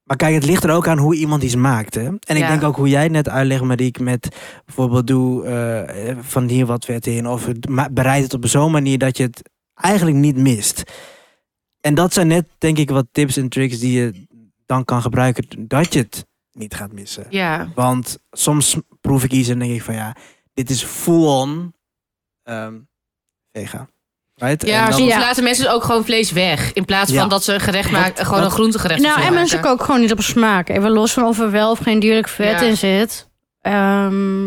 S3: maar kijk, het ligt er ook aan hoe iemand iets maakt. Hè? En ik
S2: Ja.
S3: denk ook hoe jij het net uitlegt, Mariek, met bijvoorbeeld doe eh, van hier wat vet in. Of het ma- bereid het op zo'n manier dat je het eigenlijk niet mist. En dat zijn net, denk ik, wat tips en tricks die je dan kan gebruiken dat je het niet gaat missen.
S2: Ja,
S3: Want soms proef ik iets en denk ik van ja, dit is full on ehm vega. Right?
S2: ja
S3: En dan-
S2: soms
S1: Ja.
S2: laten mensen dus ook gewoon vlees weg. In plaats van
S3: Ja.
S2: dat ze een gerecht
S3: Wat-
S2: maken, gewoon
S3: wat-
S2: een groentegerecht
S1: Nou,
S2: ervan
S1: en mensen
S2: maken.
S1: koken gewoon niet op smaak. Even los van of er wel of geen dierlijk vet
S2: Ja.
S1: in zit. Ehm,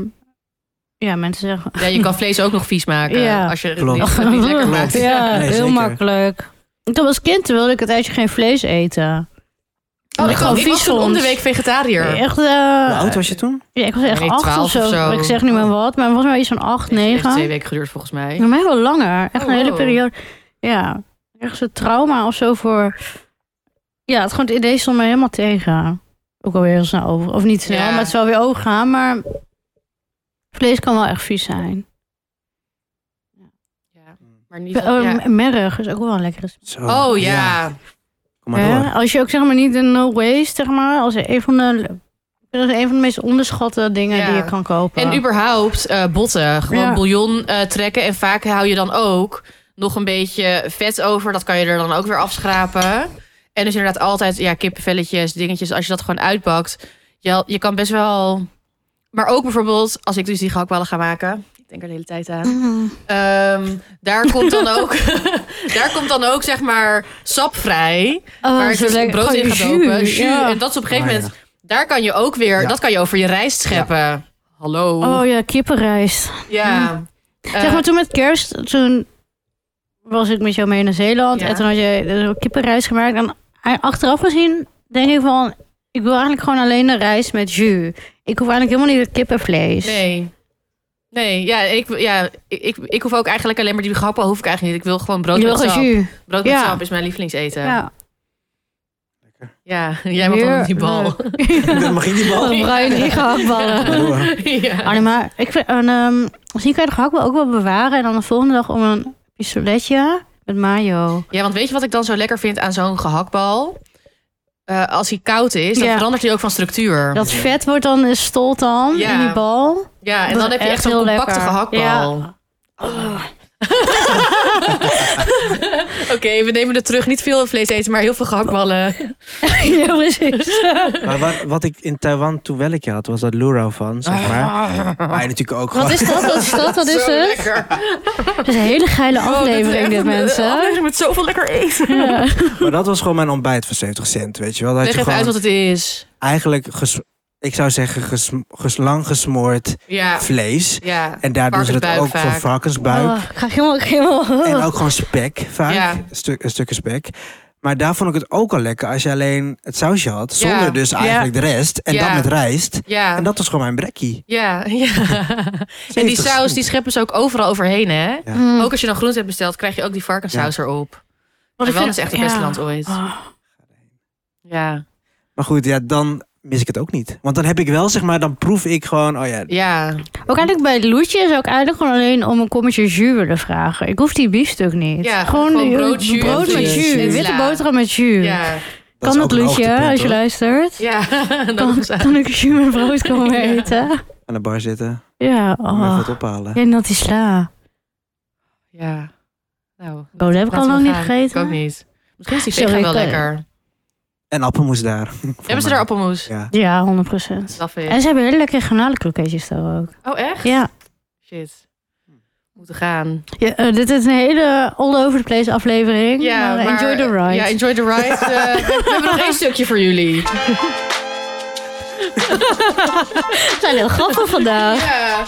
S1: ja, mensen zeggen...
S2: Ja, je kan vlees ook nog vies maken.
S1: Ja.
S2: Als je het
S3: Klopt.
S2: niet, niet lekker maakt.
S1: Ja,
S3: Nee,
S1: heel
S3: zeker.
S1: makkelijk. Toen als kind wilde ik het uitje geen vlees eten.
S2: Oh,
S1: Omdat
S2: ik,
S1: gewoon
S2: ik was
S1: vies
S2: toen om de
S1: vond.
S2: week vegetariër.
S1: Echt, eh,
S3: Hoe oud was je toen?
S1: ja, ik was echt
S2: Nee,
S1: acht
S2: 12
S1: of zo.
S2: of zo.
S1: Ik zeg niet meer wat, maar het was maar iets van acht,
S2: Heeft twee
S1: negen.
S2: weken geduurd volgens mij.
S1: Voor mij wel langer. Echt
S2: Oh,
S1: een hele
S2: wow.
S1: periode. Ja, echt een trauma of zo voor... Ja, het, gewoon het idee stond me helemaal tegen. Ook alweer heel snel over. Of niet snel,
S2: Ja.
S1: maar het zal weer overgaan. Maar vlees kan wel echt vies zijn.
S2: Ja, maar niet.
S1: Oh,
S2: ja.
S1: Eh, m- Merg is ook wel een lekkere smaak.
S3: Zo,
S2: Oh ja.
S3: Kom maar
S1: Hè?
S3: door.
S1: Als je ook zeg maar niet een no waste, zeg maar, als een van de, dat is een van de meest onderschatte dingen
S2: Ja.
S1: die je kan kopen.
S2: En überhaupt eh, botten. Gewoon
S1: Ja.
S2: bouillon eh, trekken. En vaak hou je dan ook nog een beetje vet over. Dat kan je er dan ook weer afschrapen. En dus inderdaad altijd ja, kippenvelletjes, dingetjes. Als je dat gewoon uitbakt. Je, je kan best wel... Maar ook bijvoorbeeld, als ik dus die gehaktballen ga maken... Ik denk er de hele tijd aan.
S1: Mm.
S2: Ehm, daar komt dan ook... daar komt dan ook, zeg maar, sap vrij.
S1: Oh,
S2: waar
S1: zo
S2: het
S1: lekker.
S2: brood in
S1: Gewoon
S2: gaat
S1: jus,
S2: lopen. Jus.
S1: ja.
S2: En dat is op een gegeven
S3: Ah, ja.
S2: moment... Daar kan je ook weer...
S3: Ja.
S2: Dat kan je over je rijst scheppen. Hallo.
S1: Oh ja, kippenrijst.
S2: Ja. Eh,
S1: zeg maar toen met kerst, toen was ik met jou mee naar Zeeland.
S2: Ja.
S1: En toen had jij eh, kippenrijst gemaakt. En a- achteraf gezien denk ik van, ik wil eigenlijk gewoon alleen de rijst met jus. Ik hoef eigenlijk helemaal niet het kippenvlees.
S2: nee. Nee, ja, ik, ja ik, ik, ik hoef ook eigenlijk alleen maar die grappen hoef ik eigenlijk niet. Ik wil gewoon brood
S1: Je wil
S2: met
S1: gewoon
S2: sap.
S1: jus.
S2: Brood met
S1: Ja.
S2: sap is mijn lievelingseten. Ja,
S1: Ja.
S2: jij mag dan
S1: Heer-
S2: die bal.
S1: Ja.
S3: Dan Oh, mag je die bal.
S1: Dan bruin die gehaktballen.
S3: Maar door.
S1: Ah,
S2: ja.
S1: nee, maar ik vind, en, ehm, misschien kan je de gehaktbal ook wel bewaren. En dan de volgende dag om een pistoletje met mayo.
S2: ja, want weet je wat ik dan zo lekker vind aan zo'n gehaktbal? Eh, als hij koud is, dan
S1: Ja.
S2: verandert hij ook van structuur.
S1: Dat vet wordt dan, eh, stolt dan
S2: Ja.
S1: in die bal.
S2: ja, en
S1: Dat
S2: dan
S1: is
S2: heb je echt
S1: echt
S2: zo'n
S1: heel
S2: compacte
S1: lekker.
S2: gehaktbal. Oh. Oké, we nemen het terug. Niet veel vlees eten, maar heel veel gehaktballen.
S1: ja, precies.
S3: Maar wat, wat ik in Taiwan toen wel een keer had, was dat luro van,
S2: Ah.
S3: zeg maar. Maar je natuurlijk
S1: Wat
S3: ook gewoon...
S1: is dat? Wat is dat? Wat is
S2: Zo
S1: het?
S2: lekker. Oh,
S1: Het is een hele geile aflevering, dit, mensen.
S2: met zoveel eh, oh, lekker eten.
S1: Ja.
S3: Maar dat was gewoon mijn ontbijt voor 70 cent, weet je wel. Dat had
S2: Leg
S3: je
S2: even
S3: gewoon
S2: uit wat het is.
S3: eigenlijk, ges- ik zou zeggen, ges- ges- lang gesmoord
S2: Ja,
S3: vlees.
S2: ja.
S3: En daar doen ze dat ook
S2: Varkensbuik
S3: voor
S2: vaak.
S3: varkensbuik.
S1: Oh, ik ga helemaal... helemaal
S3: En ook gewoon spek vaak,
S2: Ja.
S3: Stu- eh, stukken spek. Maar daar vond ik het ook al lekker als je alleen het sausje had. Zonder
S2: Ja.
S3: dus eigenlijk de rest. En
S2: Ja.
S3: dat met rijst.
S2: Ja,
S3: En dat was gewoon mijn brekkie.
S2: ja, ja. En die
S3: 70
S2: saus,
S3: cent.
S2: die scheppen ze ook overal overheen, hè?
S1: Mm.
S2: Ook als je dan groente hebt besteld, krijg je ook die varkenssaus erop.
S1: Want ik
S2: Taiwan is
S1: vind-
S2: echt het beste
S1: ja.
S2: land ooit.
S1: Oh,
S2: Ja,
S3: Maar goed, ja, dan mis ik het ook niet. Want dan heb ik wel, zeg maar, dan proef ik gewoon... Oh ja,
S2: ja.
S1: Ook eigenlijk bij het loetje zou ik eigenlijk gewoon alleen om een kommetje jus willen vragen. Ik hoef die biefstuk niet.
S2: Ja,
S1: gewoon,
S2: gewoon
S1: die-
S2: broodjus
S1: brood
S3: en
S1: met jus.
S2: sla.
S1: Witte boterham met jus.
S2: ja.
S3: dat
S1: kan
S3: is
S1: dat
S3: ook een
S1: loetje,
S3: hoogtepunt,
S1: als je
S3: hoor.
S1: luistert?
S2: ja.
S1: Kan, kan ik jus met brood komen
S2: Ja.
S1: eten?
S3: Aan de bar zitten.
S1: Ja,
S3: Om even
S1: oh.
S3: wat ophalen.
S1: En dat is sla.
S2: ja. Nou,
S1: dat heb ik al
S2: laten we
S1: lang niet
S2: gaan.
S1: gegeten.
S2: Ik ook niet. Misschien is die
S1: Sorry,
S2: vega wel
S1: ik, eh,
S2: lekker.
S3: En appelmoes daar.
S2: Hebben ze daar appelmoes?
S3: Ja.
S1: Ja, 100%.
S2: Dat vind ik.
S1: En ze hebben hele lekkere granalenkroketjes daar ook.
S2: Oh, echt?
S1: Ja,
S2: Shit. Moeten gaan.
S1: ja eh, dit is een hele all over the place aflevering. Maar, eh,
S2: maar-
S1: enjoy the ride.
S2: Ja, enjoy the ride. Eh, we, we hebben nog één stukje voor jullie.
S1: We zijn heel grappig vandaag.
S2: Ja.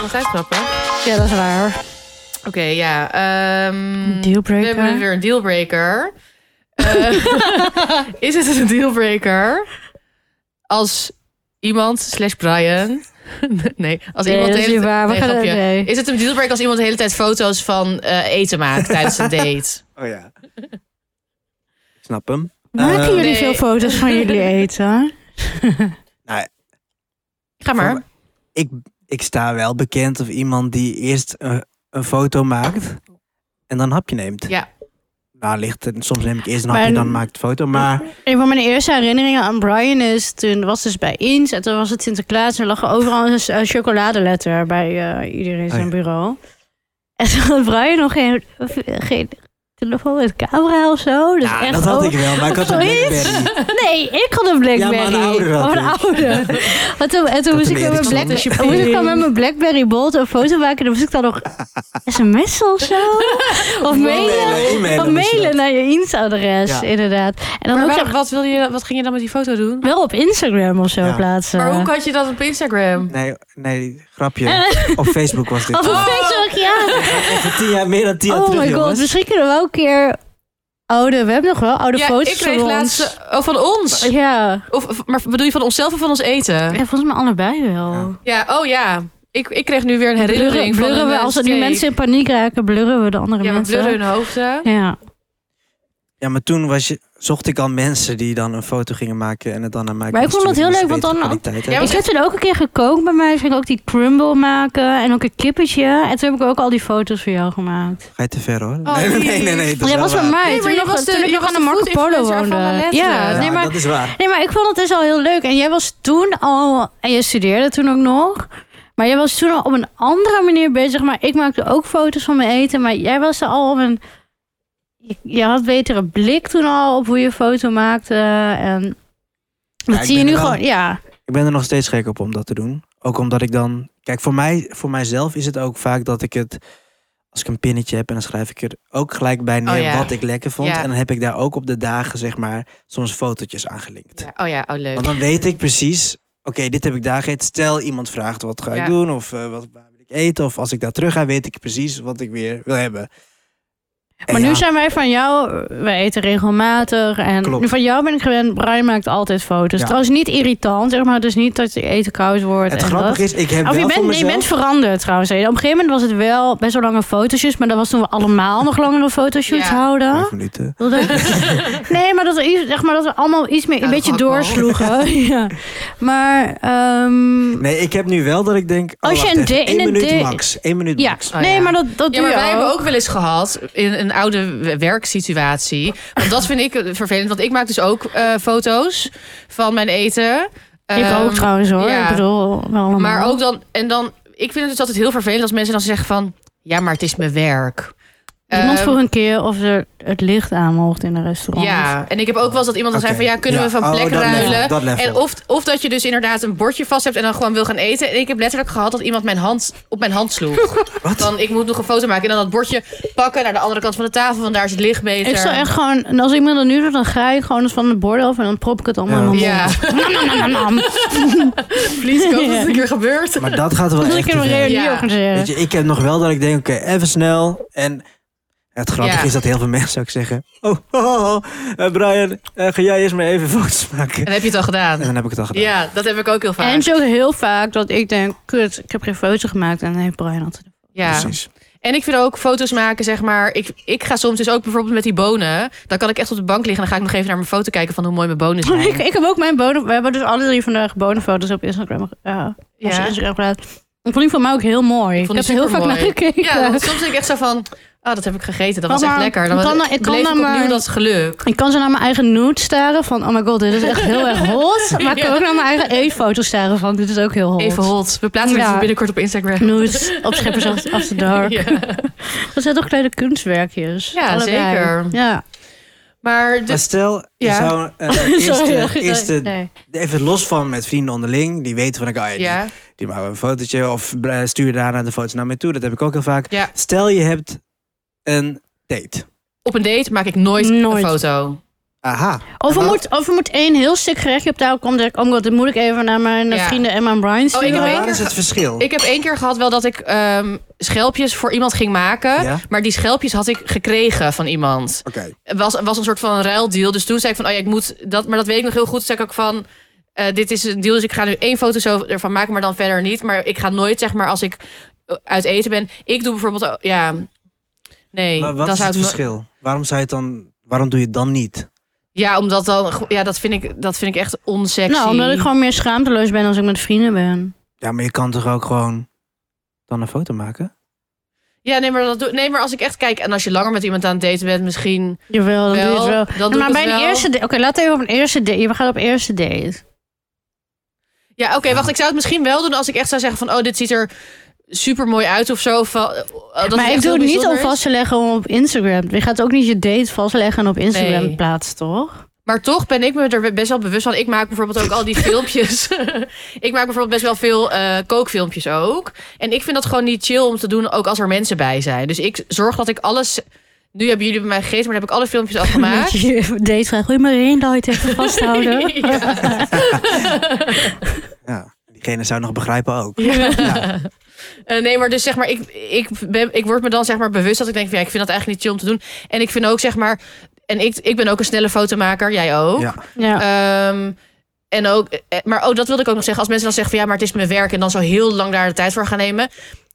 S2: Nog Ah. uitknappen.
S1: Ja, dat is waar.
S2: Oké, ja. ehm, we
S1: Dealbreaker.
S2: hebben weer een dealbreaker. Eh, is het een dealbreaker als iemand slash Brian... Nee, als
S1: Nee,
S2: iemand...
S1: dat
S2: de
S1: is
S2: hele-
S1: niet waar. We
S2: nee,
S1: gaan-
S2: grapje.
S1: nee.
S2: Is het een dealbreaker als iemand de hele tijd foto's van eh, eten maakt tijdens een date?
S3: Oh ja. Ik snap hem.
S1: Maken
S3: Eh,
S1: jullie
S2: nee.
S1: veel foto's van jullie eten?
S2: Ga maar.
S3: Ik, ik sta wel bekend of iemand die eerst een, een foto maakt en dan een hapje neemt.
S2: Ja.
S3: Nou, ligt het. Soms neem ik eerst een
S1: Maar-
S3: hapje en dan maak ik de foto. Maar
S1: Een van mijn eerste herinneringen aan Brian is... toen was dus bij Eens en toen was het Sinterklaas... en er lag er overal een s- een chocoladeletter bij eh, iedereen in zijn
S3: Oh
S1: bureau. En toen had Brian nog geen, of, eh, geen telefoon met camera of zo. Dus
S3: ja,
S1: echt
S3: dat had
S1: over-
S3: ik wel. Maar ik had een
S1: Zoiets?
S3: Blackberry.
S1: Nee, ik had een Blackberry.
S3: Ja, maar een ouder had
S1: Oh, een
S3: ik.
S1: ouder. Maar toen, en toen moest ik,
S3: een
S1: met mijn,
S3: Ericsson.
S1: Black, moest ik dan met mijn Blackberry Bolt een foto maken. Dan moest ik dan nog sms'en of zo. Of mailen.
S3: Mailen, e-mailen,
S1: Of
S3: noem je
S1: mailen
S3: dat.
S1: naar je Insta-adres,
S3: Ja.
S1: inderdaad. En dan
S2: Maar
S1: ook
S2: waar-
S1: echt
S2: wat, wil je, wat ging je dan met die foto doen? Eh.
S1: wel op Instagram of zo
S3: Ja.
S1: plaatsen.
S2: Maar hoe had je dat op Instagram?
S3: Nee, nee,
S1: Eh.
S3: grapje. Op Facebook was dit.
S1: Of op
S2: Oh.
S1: Facebook, ja.
S3: Even tien jaar, meer dan tien jaar
S1: Oh
S3: terug,
S1: my god,
S3: jongens.
S1: misschien kunnen we wel een keer oude... We hebben nog wel oude
S2: ja,
S1: foto's
S2: ik kreeg
S1: van
S2: laatst...
S1: ons.
S2: Oh, van ons?
S1: Ja.
S2: Of, of- maar bedoel je van onszelf of van ons eten?
S1: ja, volgens mij allebei wel.
S3: Ja.
S2: Ja, oh ja. Ik, ik kreeg nu weer een herinnering
S1: Blurren,
S2: van
S1: blurren
S2: een,
S1: we,
S2: eh,
S1: als er die
S2: steak.
S1: mensen in paniek raken, blurren we de andere
S2: Ja, we
S1: mensen.
S2: blurren hun hoofden.
S1: Ja.
S3: Ja, maar toen was je, zocht ik al mensen die dan een foto gingen maken en het dan aan mij
S1: Maar ik
S3: konden
S1: vond het
S3: sturen.
S1: heel leuk, want
S3: Dus betere
S1: dan-
S3: kwaliteit, hè?
S2: Ja,
S1: ik heb toen ook een keer gekookt bij mij. Dus ging ik ook die crumble maken en ook een kippetje. En toen heb ik ook al die foto's voor jou gemaakt.
S3: Ga je te ver hoor.
S2: Oh,
S3: nee, nee, nee, nee,
S2: lief.
S3: dat
S1: Dat
S3: is
S1: ja,
S3: wel
S1: was bij
S3: waar.
S1: mij.
S2: Nee, maar
S1: toen
S2: je
S1: ik,
S2: was de-
S1: toen ik
S2: je
S1: nog
S2: was
S1: aan de
S2: de
S1: Marco Polo
S2: food-influencer van
S1: woonde.
S2: Valletta.
S1: Ja,
S3: Ja,
S1: nee, maar
S3: dat is waar.
S1: Nee, maar ik vond het dus al heel leuk. En jij was toen al... En je studeerde toen ook nog. Maar jij was toen al op een andere manier bezig. Maar ik maakte ook foto's van mijn eten. Maar jij was er al op een... Je, je had betere blik toen al op hoe je foto maakte. En dat
S3: Ja, ik
S1: zie je
S3: ben
S1: nu
S3: er wel.
S1: gewoon... Ja,
S3: Ik ben er nog steeds gek op om dat te doen. Ook omdat ik dan... Kijk, voor, mij, voor mijzelf is het ook vaak dat ik het... Als ik een pinnetje heb en dan schrijf ik er ook gelijk bij neer
S2: Oh, ja.
S3: wat ik lekker vond.
S2: Ja.
S3: En dan heb ik daar ook op de dagen, zeg maar, soms fotootjes aan gelinkt.
S2: Ja, Oh ja, oh leuk.
S3: Want dan weet ik precies, oké, dit heb ik daar gegeten. Stel iemand vraagt wat ga ik
S2: Ja.
S3: doen of eh, wat waar wil ik eten. Of als ik daar terug ga, weet ik precies wat ik weer wil hebben. En
S1: maar
S3: ja,
S1: nu zijn wij van jou... Wij eten regelmatig. En
S3: Klopt.
S1: nu van jou ben ik gewend... Brian maakt altijd foto's.
S3: Ja.
S1: Trouwens niet irritant, zeg maar. Het is niet dat je eten koud wordt.
S3: het
S1: en dat.
S3: grappige is, ik heb
S1: Of
S3: wel
S1: je
S3: voor
S1: bent, nee, je
S3: mezelf...
S1: bent veranderd trouwens. Op een gegeven moment was het wel best wel lange fotoshoots. Maar dat was toen we allemaal nog langere fotoshoots
S2: Ja.
S1: houden.
S3: Vijf minuten.
S1: Dat we- nee, maar dat, we iets- zeg maar dat we allemaal iets meer
S2: Ja,
S1: een
S2: dat
S1: beetje
S2: kan ook wel.
S1: doorsloegen. ja. Maar ehm,
S3: Nee, ik heb nu wel dat ik denk, oh,
S1: Als je
S3: wacht
S1: een
S3: even,
S1: da- in
S3: één
S1: een
S3: minuut
S1: da-
S3: max. Één minuut
S1: ja.
S3: max.
S2: Oh,
S1: nee,
S2: ja.
S1: maar dat, dat
S2: Ja,
S1: doe
S2: maar
S1: je
S2: wij
S1: ook.
S2: hebben ook wel eens gehad in een oude w- werksituatie. Want dat vind ik eh, vervelend, want ik maak dus ook eh, foto's van mijn eten.
S1: ik ook
S2: Ehm,
S1: trouwens hoor.
S2: ja.
S1: Ik bedoel, wel allemaal.
S2: Maar ook dan, en dan, ik vind het dus altijd heel vervelend als mensen dan zeggen van, ja, maar het is mijn werk.
S1: Iemand
S2: Ehm,
S1: vroeg een keer of er het licht aan mocht in een restaurant.
S2: Ja, en ik heb ook wel eens dat iemand dan
S3: Oké,
S2: zei van, ja, kunnen
S3: ja.
S2: we van
S3: Oh,
S2: plek
S3: dat level,
S2: ruilen?
S3: dat level.
S2: en of, of dat je dus inderdaad een bordje vast hebt en dan gewoon wil gaan eten. En ik heb letterlijk gehad dat iemand mijn hand op mijn hand sloeg.
S3: Wat?
S2: Dan, ik moet nog een foto maken en dan dat bordje pakken naar de andere kant van de tafel, want daar is het licht beter.
S1: Ik zou echt gewoon, en als iemand dat nu doet, dan ga ik gewoon eens van de borden af en dan prop ik het allemaal
S3: Ja.
S1: in mijn
S2: Ja,
S1: mond. Nam, nam, nam, nam.
S2: please, ik hoop dat het een keer gebeurt.
S3: Maar dat gaat wel
S1: Dat ik
S3: echt te
S1: een
S3: ver.
S1: reunie
S2: Ja.
S1: organiseren.
S3: Weet je, ik heb nog wel dat ik denk, oké, even snel. En het grappige
S2: Ja.
S3: is dat heel veel mensen ook zeggen... Oh, oh, oh, oh, eh, Brian, eh, ga jij eerst maar even foto's maken.
S2: En heb je het al gedaan?
S3: En dan heb ik het al gedaan.
S2: Ja, dat heb ik ook heel vaak.
S1: En het is ook heel vaak dat ik denk, kut, ik heb geen foto gemaakt. En dan heeft Brian altijd een
S2: ja.
S3: Precies.
S2: En ik vind ook foto's maken, zeg maar. Ik, ik ga soms dus ook bijvoorbeeld met die bonen. Dan kan ik echt op de bank liggen en dan ga ik nog even naar mijn foto kijken van hoe mooi mijn bonen
S1: foto.
S2: zijn.
S1: Ik, ik heb ook mijn bonen... We hebben dus alle drie vandaag bonenfoto's op Instagram, eh onze
S2: Ja.
S1: Instagram geplaatst. Ik vond die van mij ook heel mooi. Ik,
S2: vond die
S1: heb er heel vaak naar
S2: supermooi.
S1: gekeken.
S2: Ja, want soms denk ik echt zo van, ah, dat heb ik gegeten. Dat was
S1: Maar-
S2: echt lekker.
S1: ik
S2: Dan
S1: kan-
S2: kan,
S1: ik kan
S2: beleef
S1: eh,
S2: ik
S1: dan maar-
S2: opnieuw dat geluk.
S1: Ik kan zo naar mijn eigen nude staren van, oh my god, dit is echt heel erg hot. Maar ik kan ook naar mijn eigen eetfoto staren van, dit is ook heel hot.
S2: Even hot. We plaatsen
S1: Ja.
S2: het binnenkort op Instagram.
S1: Nudes op Schippers After- After Dark.
S2: Ja.
S1: Dat zijn toch kleine kunstwerkjes.
S2: Ja,
S1: Allebei.
S2: zeker.
S1: Ja.
S2: Maar
S3: Maar
S2: dus,
S3: stel, je
S2: Ja.
S3: zou eh, eerst,
S1: Sorry,
S3: eh,
S1: sorry.
S3: eerst, eh,
S1: Nee.
S3: even los van met vrienden onderling. Die weten van, ik oh, ja, die-
S2: ja.
S3: die maken een fotootje. Of eh, stuur daarna de foto's naar mij toe. Dat heb ik ook heel vaak.
S2: Ja.
S3: Stel, je hebt een date.
S2: Op een date maak ik nooit,
S1: Nooit.
S2: een foto.
S3: Aha.
S1: Of er,
S3: Maar-
S1: moet, of er moet één heel stuk gerechtje op tafel komen. Dan denk ik, oh my god, dit moet ik even naar mijn eh,
S2: Ja.
S1: vrienden en mijn Brian
S2: Oh, ik
S1: sturen.
S2: heb één
S3: Waar
S2: keer
S3: is het verschil?
S2: Ik heb één keer gehad wel dat ik ehm, schelpjes voor iemand ging maken.
S3: Ja?
S2: Maar die schelpjes had ik gekregen van iemand.
S3: Oké.
S2: was, was een soort van een ruildeal. Dus toen zei ik van, oh ja, ik moet dat. Maar dat weet ik nog heel goed. Toen zei ik ook van, eh, dit is een deal. Dus ik ga nu één foto zo ervan maken, maar dan verder niet. Maar ik ga nooit, zeg maar, als ik eh, uit eten ben. Ik doe bijvoorbeeld, oh, ja, nee.
S3: Maar wat
S2: dan
S3: is
S2: zou
S3: het
S2: ik no-
S3: verschil? Waarom zou je het dan... Waarom doe je het dan niet?
S2: Ja, omdat dan, go- ja, dat vind ik, dat vind ik echt onsexy.
S1: Nou, omdat ik gewoon meer schaamteloos ben als ik met vrienden ben.
S3: Ja, maar je kan toch ook gewoon dan een foto maken?
S2: Ja, nee, maar dat doe, nee, maar als ik echt kijk en als je langer met iemand aan het daten bent, misschien.
S1: Jawel, dat
S2: wel,
S1: doe je het wel.
S2: Dan doe
S1: maar
S2: ik
S1: bij
S2: het
S1: een
S2: wel.
S1: eerste date... Oké, laten we even op een eerste date. We gaan op eerste date.
S2: Ja, oké, wacht. Ik zou het misschien wel doen als ik echt zou zeggen van, oh, dit ziet er super mooi uit of zo. Van, eh, dat is
S1: maar ik
S2: echt
S1: doe
S2: heel
S1: het niet om
S2: bijzonders.
S1: vast te leggen op Instagram. Je gaat ook niet je date vastleggen en op Instagram
S2: Nee.
S1: plaatsen, toch?
S2: Maar toch ben ik me er best wel bewust van. Ik maak bijvoorbeeld ook al die filmpjes. ik maak bijvoorbeeld best wel veel eh, kookfilmpjes ook. En ik vind dat gewoon niet chill om te doen, ook als er mensen bij zijn. Dus ik zorg dat ik alles. Nu hebben jullie bij mij gegeten, maar dan heb ik alle filmpjes al
S1: Dat
S2: gemaakt.
S1: je je date vraagt, gooi maar één light even vasthouden.
S2: Ja.
S3: Ja. Diegene zou nog begrijpen ook.
S2: Eh, nee, maar dus zeg maar, ik, ik, ben, ik word me dan zeg maar bewust dat ik denk van ja, ik vind dat eigenlijk niet chill om te doen. En ik vind ook zeg maar, en ik, ik ben ook een snelle fotomaker, jij ook.
S3: Ja.
S1: Ja.
S2: Ehm, en ook, eh, maar oh, dat wilde ik ook nog zeggen. Als mensen dan zeggen van ja, maar het is mijn werk en dan zo heel lang daar de tijd voor gaan nemen.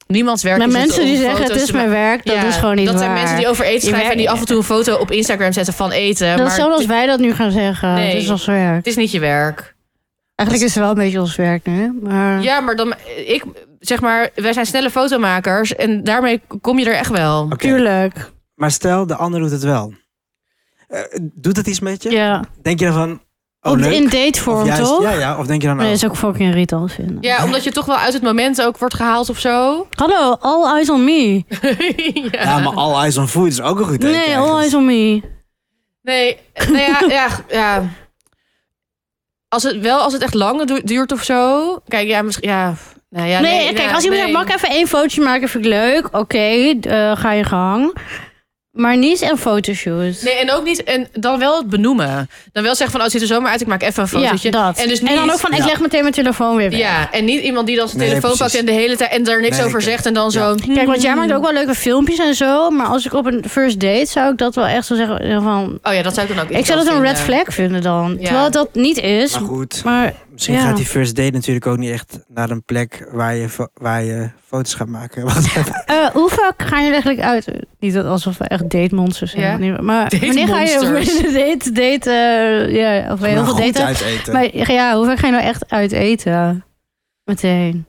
S2: Niemands werk
S1: Maar
S2: is
S1: mensen
S2: om
S1: die zeggen
S2: foto's
S1: het is
S2: te ma-
S1: mijn werk, dat
S2: Ja,
S1: is gewoon niet
S2: Dat
S1: waar.
S2: zijn mensen die over eten
S1: Je
S2: schrijven en die
S1: werk-
S2: af en toe een foto op Instagram zetten van eten.
S1: dat is
S2: maar
S1: hetzelfde als
S2: het,
S1: wij dat nu gaan zeggen.
S2: Nee.
S1: Het is ons werk.
S2: het is niet je werk.
S1: Eigenlijk is het wel een beetje ons werk nu. Maar
S2: Ja, maar dan eh, ik zeg maar, wij zijn snelle fotomakers en daarmee kom je er echt wel.
S3: Oké.
S1: tuurlijk.
S3: Maar stel, de ander doet het wel. Eh, doet het iets met je?
S1: Ja.
S3: Denk je dan van... Oh,
S1: Op-
S3: leuk?
S1: in date
S3: of
S1: vorm,
S3: juist-
S1: toch?
S3: Ja, ja. Of denk je dan...
S1: Nee,
S3: oh,
S1: dat is ook fucking irritant vinden.
S2: Ja, omdat je toch wel uit het moment ook wordt gehaald of zo.
S1: Hallo, all eyes on me.
S2: ja.
S3: ja, maar all eyes on food is ook een goed idee.
S1: Nee, all eyes on me.
S2: Nee, nou ja, ja, ja. Als het wel, als het echt lang du- duurt of zo. Kijk, ja, misschien, ja. Nou ja,
S1: nee,
S2: nee,
S1: kijk,
S2: ja,
S1: als iemand
S2: nee.
S1: zegt, mag ik even één fotootje maken? Vind ik leuk. Oké, eh, ga je gang. Maar niet een fotoshoot.
S2: Nee, en ook niet. En dan wel het benoemen. Dan wel zeggen van, oh, het ziet er zomaar uit. Ik maak even een fotootje.
S1: Ja, dat.
S2: En dus
S1: dan
S2: niet-
S1: ook van, ik
S3: Ja.
S1: leg meteen mijn telefoon weer weg.
S2: Ja, en niet iemand die dan zijn
S3: Nee,
S2: telefoon
S3: precies.
S2: pakt en de hele tijd en daar niks
S3: Nee,
S2: over
S3: kijk.
S2: zegt en dan zo. hmm.
S1: Kijk, want
S2: Mm.
S1: jij maakt ook wel leuke filmpjes en zo. Maar als ik op een first date zou ik dat wel echt zo zeggen van...
S2: Oh ja, dat zou ik dan ook.
S1: Ik zou dat een red
S2: irritant
S1: flag vinden dan.
S2: Ja.
S1: Terwijl het dat niet is.
S3: Maar goed,
S1: Maar
S3: misschien
S1: ja.
S3: gaat die first date natuurlijk ook niet echt naar een plek waar je, fo- waar je foto's gaat maken. Wat-
S1: eh, hoe vaak gaan jullie eigenlijk uit? Niet dat alsof we echt date monsters zijn.
S2: Ja.
S1: niet- Maar wanneer ga je
S2: Datemonsters.
S1: date, date, eh, ja, of
S3: Maar
S1: heel veel
S3: goed
S1: daten?
S3: uiteten.
S1: Maar ja, hoe vaak ga je nou echt uit eten? Meteen.
S2: vinden.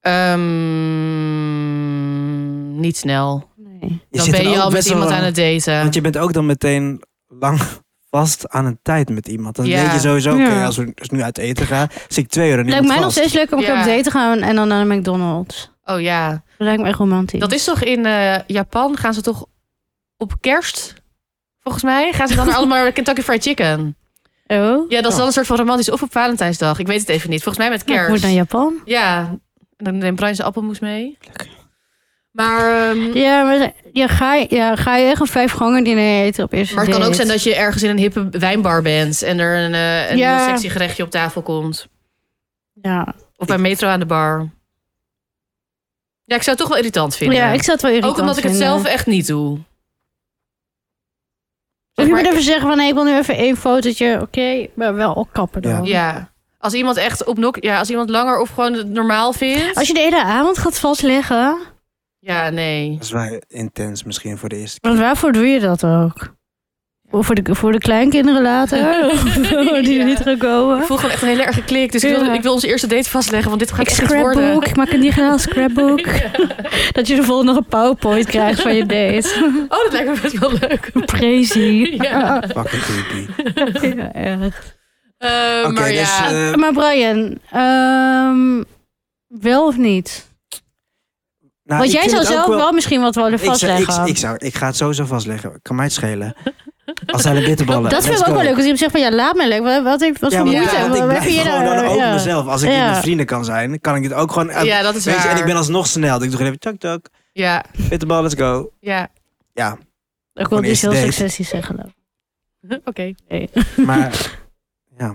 S2: eh, Ehm, niet snel.
S1: Nee.
S3: Je
S2: dan
S3: zit
S2: ben je
S3: dan ook
S2: al met
S3: best wel
S2: iemand aan
S3: lang-
S2: het
S1: Eh,
S2: daten.
S3: Want je bent ook dan meteen lang vast aan een tijd met iemand. Dan
S2: Ja.
S3: weet je sowieso, oké,
S1: Ja.
S3: als we als ik nu uit eten gaan, zit ik twee uur en
S1: Lijkt
S3: iemand
S1: mij nog
S3: vast.
S1: steeds leuk om een keer
S2: Ja.
S1: op date te gaan en dan naar de McDonald's.
S2: Oh ja.
S1: Dat lijkt me echt romantisch.
S2: Dat is toch in eh, Japan gaan ze toch op kerst, volgens mij, gaan ze dan allemaal naar Kentucky Fried Chicken.
S1: Oh,
S2: Ja, dat is
S3: Oh.
S2: dan een soort van romantisch. Of op Valentijnsdag, ik weet het even niet. Volgens mij met
S1: Nou, ik moet
S2: kerst.
S1: naar Japan.
S2: Ja, en dan neemt Brian zijn appelmoes mee. Maar, ehm,
S1: Ja, maar ja, ga, je, ja, ga je echt een vijf gangen diner eten op eerste
S2: maar het kan ook zijn
S1: date?
S2: dat je ergens in een hippe wijnbar bent en er een, eh, een
S1: Ja.
S2: heel sexy gerechtje op tafel komt.
S1: Ja,
S2: Of bij Metro aan de bar. Ja, ik zou het toch wel irritant vinden.
S1: ja ik zou het wel irritant
S2: ook omdat ik het
S1: vinden.
S2: zelf echt niet doe.
S1: Of
S2: Zeg
S1: je
S2: maar,
S1: moet even zeggen van, nee, ik wil nu even één fotootje. Oké, maar wel opkappen dan.
S2: Ja. Als iemand echt op nok, ja, als iemand langer of gewoon het normaal vindt.
S1: Als je de hele avond gaat vastleggen,
S2: Ja, nee.
S3: Dat is wel intens misschien voor de eerste keer.
S1: want waarvoor doe je dat ook? Of Voor de, voor de kleinkinderen later, die
S2: Ja.
S1: niet gaan komen.
S2: Ik voel gewoon echt een hele erg geklik. Dus ik wil,
S1: Ja.
S2: ik wil onze eerste date vastleggen, want dit gaat
S1: Ik
S2: echt iets worden.
S1: scrapbook, ik maak een digitaal scrapbook. Dat je de volgende nog een powerpoint krijgt van je date.
S2: Oh, dat lijkt me best wel leuk.
S1: Crazy.
S2: Ja.
S3: Fucking creepy.
S1: Ja, erg.
S2: Eh,
S3: Oké,
S2: maar
S3: dus
S2: ja.
S3: eh,
S1: Maar Brian, ehm, wel of niet?
S3: nou,
S1: Want
S3: ik
S1: jij
S3: vind
S1: zou
S3: het ook
S1: zelf wel... misschien wat willen
S3: Ik zou, ik,
S1: vastleggen.
S3: ik zou, ik ga het sowieso vastleggen. Kan mij het schelen. Als zijn de bitterballen.
S1: dat vind
S3: Let's
S1: ik ook
S3: go.
S1: wel leuk. Als iemand zegt van ja, laat me lekker. Wat, wat, heeft- wat
S3: Ja,
S1: voor
S3: want
S1: moeite?
S3: ja,
S1: wat,
S3: want ik
S1: wat
S3: blijf
S1: heb je
S3: gewoon
S1: daar-
S3: dan ook
S1: ja.
S3: mezelf. Als ik
S1: Ja.
S3: met mijn vrienden kan zijn, kan ik het ook gewoon...
S2: ja, dat is
S3: eh, weet
S2: waar.
S3: je, en ik ben alsnog snel. Dus ik doe gewoon even tak tak.
S2: Ja,
S3: Bitterbal, let's go.
S2: ja.
S3: Ja,
S1: Ik wil
S3: Gewoon Dus
S1: niet
S3: eerste
S1: heel
S3: date.
S1: successie zeggen. geloof ik.
S2: Oké.
S1: Nee.
S3: maar... ja,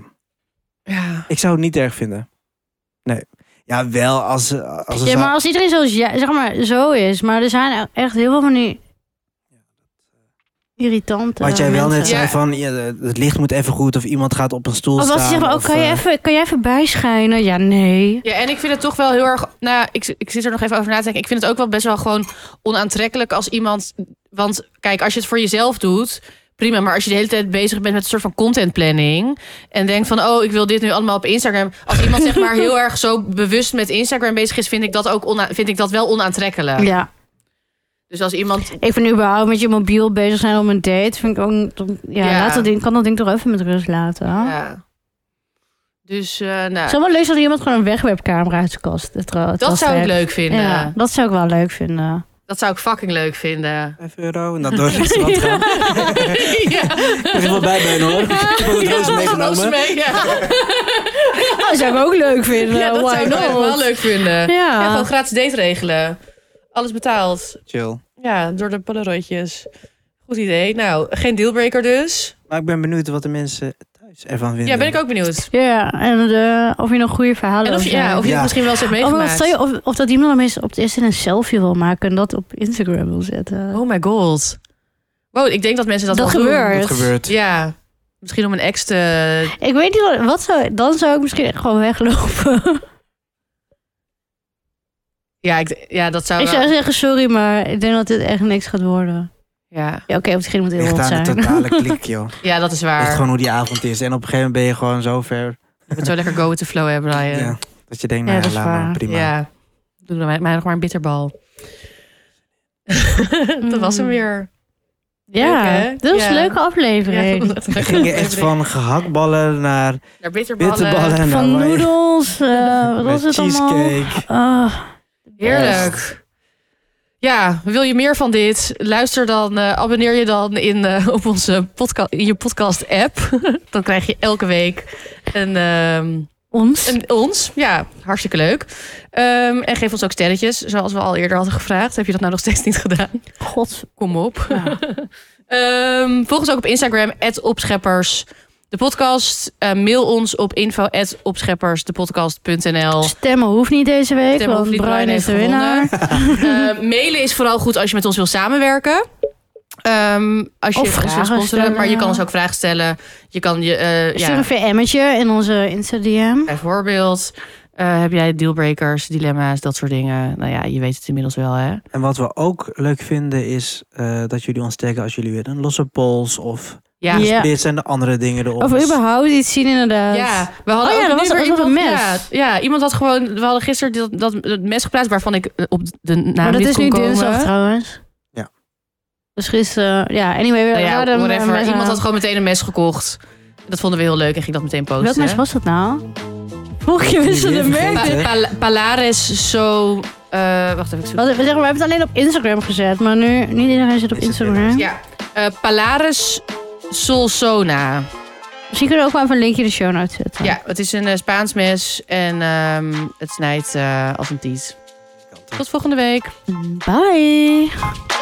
S2: Ja.
S3: ik zou het niet erg vinden. Nee. Ja, wel als... eh, als er
S1: Ja,
S3: zou-
S1: maar als iedereen zoals jij, zeg maar, zo is. Maar er zijn echt heel veel van die irritante
S3: Wat jij wel net
S1: mensen.
S3: zei
S2: Ja.
S3: van, ja, het licht moet even goed of iemand gaat op een stoel
S1: Of
S3: staan.
S1: als ze zeggen, oh,
S3: of,
S1: kan, je
S3: eh,
S1: even, kan jij even bijschijnen? Ja, nee.
S2: Ja, en ik vind het toch wel heel erg. Nou, ja, ik, ik zit er nog even over na te denken. Ik vind het ook wel best wel gewoon onaantrekkelijk als iemand. Want kijk, als je het voor jezelf doet, prima. Maar als je de hele tijd bezig bent met een soort van contentplanning. En denkt van, oh, ik wil dit nu allemaal op Instagram. Als iemand zeg maar heel erg zo bewust met Instagram bezig is, vind ik dat ook ona- vind ik dat wel onaantrekkelijk.
S1: Ja.
S2: Dus als iemand.
S1: Ik vind überhaupt met je mobiel bezig zijn op een date. Vind ik ook, dan- ja,
S2: Ja.
S1: Laat dat ding, kan dat ding toch even met rust laten.
S2: Ja. Dus, eh,
S1: Het
S2: nou,
S1: zou wel leuk zijn als iemand gewoon een wegwerpcamera uit de kast. Het, het
S2: dat
S1: was
S2: zou ik
S1: weg.
S2: leuk vinden.
S1: Ja, dat zou ik wel leuk vinden.
S2: Dat zou ik fucking leuk vinden.
S3: 5 euro en dan door het restaurant gaan.
S2: ja.
S3: Ik heb wel bijbeen hoor. Ik heb ook een roos meegenomen.
S2: Mee, ja.
S1: Oh, dat zou ik ook leuk vinden.
S2: Ja, dat
S1: Why
S2: zou ik
S1: not?
S2: nog wel leuk vinden. Ja.
S1: Ja.
S2: gewoon gratis date regelen. Alles betaald.
S3: Chill.
S2: Ja, door de polaroidjes. Goed idee. Nou, geen dealbreaker dus.
S3: Maar ik ben benieuwd wat de mensen thuis ervan vinden.
S2: Ja, ben ik ook benieuwd.
S1: Ja, en eh, of je nog goede verhalen
S2: En of je,
S1: hebt.
S2: ja, of je
S3: Ja.
S2: het misschien wel eens hebt
S1: Oh, maar
S2: meegemaakt.
S1: stel je of, of dat iemand dan eens op het eerst een selfie wil maken en dat op Instagram wil zetten.
S2: Oh my god. Wow, ik denk dat mensen dat,
S1: dat
S2: wel
S1: gebeurt.
S3: Wat gebeurt?
S2: doen. Ja. Misschien om een ex te...
S1: Ik weet niet wat, wat zou, dan zou ik misschien echt gewoon weglopen.
S2: Ja, ik, ja dat zou
S1: Ik
S2: wel-
S1: zou zeggen, sorry, maar ik denk dat dit echt niks gaat worden.
S2: ja.
S1: Ja, oké, op het moet heel
S3: Ligt
S1: hot
S3: aan de
S1: zijn.
S3: totale klik, joh.
S2: ja, dat is waar.
S3: Echt gewoon hoe die avond is. En op een gegeven moment ben je gewoon zo ver
S2: Je moet zo lekker go with the flow hebben, Brian.
S3: ja, dat je denkt,
S1: Ja,
S3: nou
S1: dat
S3: ja,
S1: is
S3: laat maar,
S1: waar.
S3: prima.
S2: Ja, doe dan mij, mij nog maar een bitterbal. dat was hem
S1: Mm.
S2: weer. Leuk,
S1: ja,
S2: hè?
S1: dit was
S2: Ja.
S1: een leuke aflevering.
S3: We gingen echt van gehaktballen naar
S2: naar bitterballen.
S3: bitterballen. en
S1: Van
S3: naar wijn.
S1: noedels, eh, wat
S3: Met
S1: was het allemaal?
S3: cheesecake.
S1: Ah,
S2: Heerlijk. Ja, wil je meer van dit? Luister dan, eh, abonneer je dan in, eh, op onze podcast, in je podcast-app. dan krijg je elke week een, ehm,
S1: ons.
S2: een ons. Ja, hartstikke leuk. Ehm, en geef ons ook sterretjes, zoals we al eerder hadden gevraagd. Heb je dat nou nog steeds niet gedaan?
S1: God.
S2: Kom op.
S1: Ja.
S2: Ehm, volg ons ook op Instagram, opscheppers. De podcast, Eh, mail ons op info opscheppersdepodcast.nl.
S1: Stemmen hoeft niet deze week,
S2: Stemmen
S1: want
S2: hoeft niet,
S1: Brian
S2: Brian
S1: is de
S2: heeft
S1: winnaar.
S2: Eh, mailen is vooral goed als je met ons wil samenwerken. Ehm, als je
S1: Of
S2: ons wil
S1: vragen
S2: sponsoren,
S1: stellen.
S2: maar je kan ons ook vragen stellen. Je kan je, eh,
S1: Stuur
S2: ja,
S1: een VM'tje in onze Insta-DM.
S2: bijvoorbeeld, eh, heb jij dealbreakers, dilemma's, dat soort dingen. Nou ja, je weet het inmiddels wel, hè?
S3: En wat we ook leuk vinden is eh, dat jullie ons taggen als jullie weer een losse pols of
S2: Ja.
S1: Ja.
S3: dit zijn de andere dingen erop.
S1: Of überhaupt iets zien inderdaad.
S2: Ja, we hadden
S1: Oh ja,
S2: ook
S1: dat
S2: nu
S1: was-
S2: weer
S1: dat was een
S2: iemand-
S1: mes.
S2: Ja, ja, iemand had gewoon... We hadden gisteren dat, dat, dat mes geplaatst waarvan ik eh, op de naam
S1: Maar dat
S2: niet
S1: is
S2: kon
S1: nu
S2: komen. Nou
S1: dinsdag trouwens.
S3: Ja.
S1: Dus gisteren, ja, anyway. We eh,
S2: Nou ja,
S1: hadden
S2: whatever.
S1: een mes
S2: Iemand
S1: aan.
S2: had gewoon meteen een mes gekocht. Dat vonden we heel leuk en ging dat meteen posten.
S1: Welk mes was dat nou? Vroeg je wist het
S3: Niet
S1: een merk.
S2: Pa-
S3: vergeten.
S2: Pal- Palares zo... eh, wacht even, ik zoek-
S1: Wat- We, zeggen, we hebben het alleen op Instagram gezet, maar nu niet iedereen zit op
S3: Is het
S1: Instagram.
S3: weer?
S2: Ja. eh, Palares Solsona.
S1: Misschien kunnen we ook wel even een linkje in de show notes zetten.
S2: Ja, het is een eh, Spaans mes en
S3: Dus-
S2: ehm, het snijdt eh, als een tiet. Tot volgende week.
S1: Bye!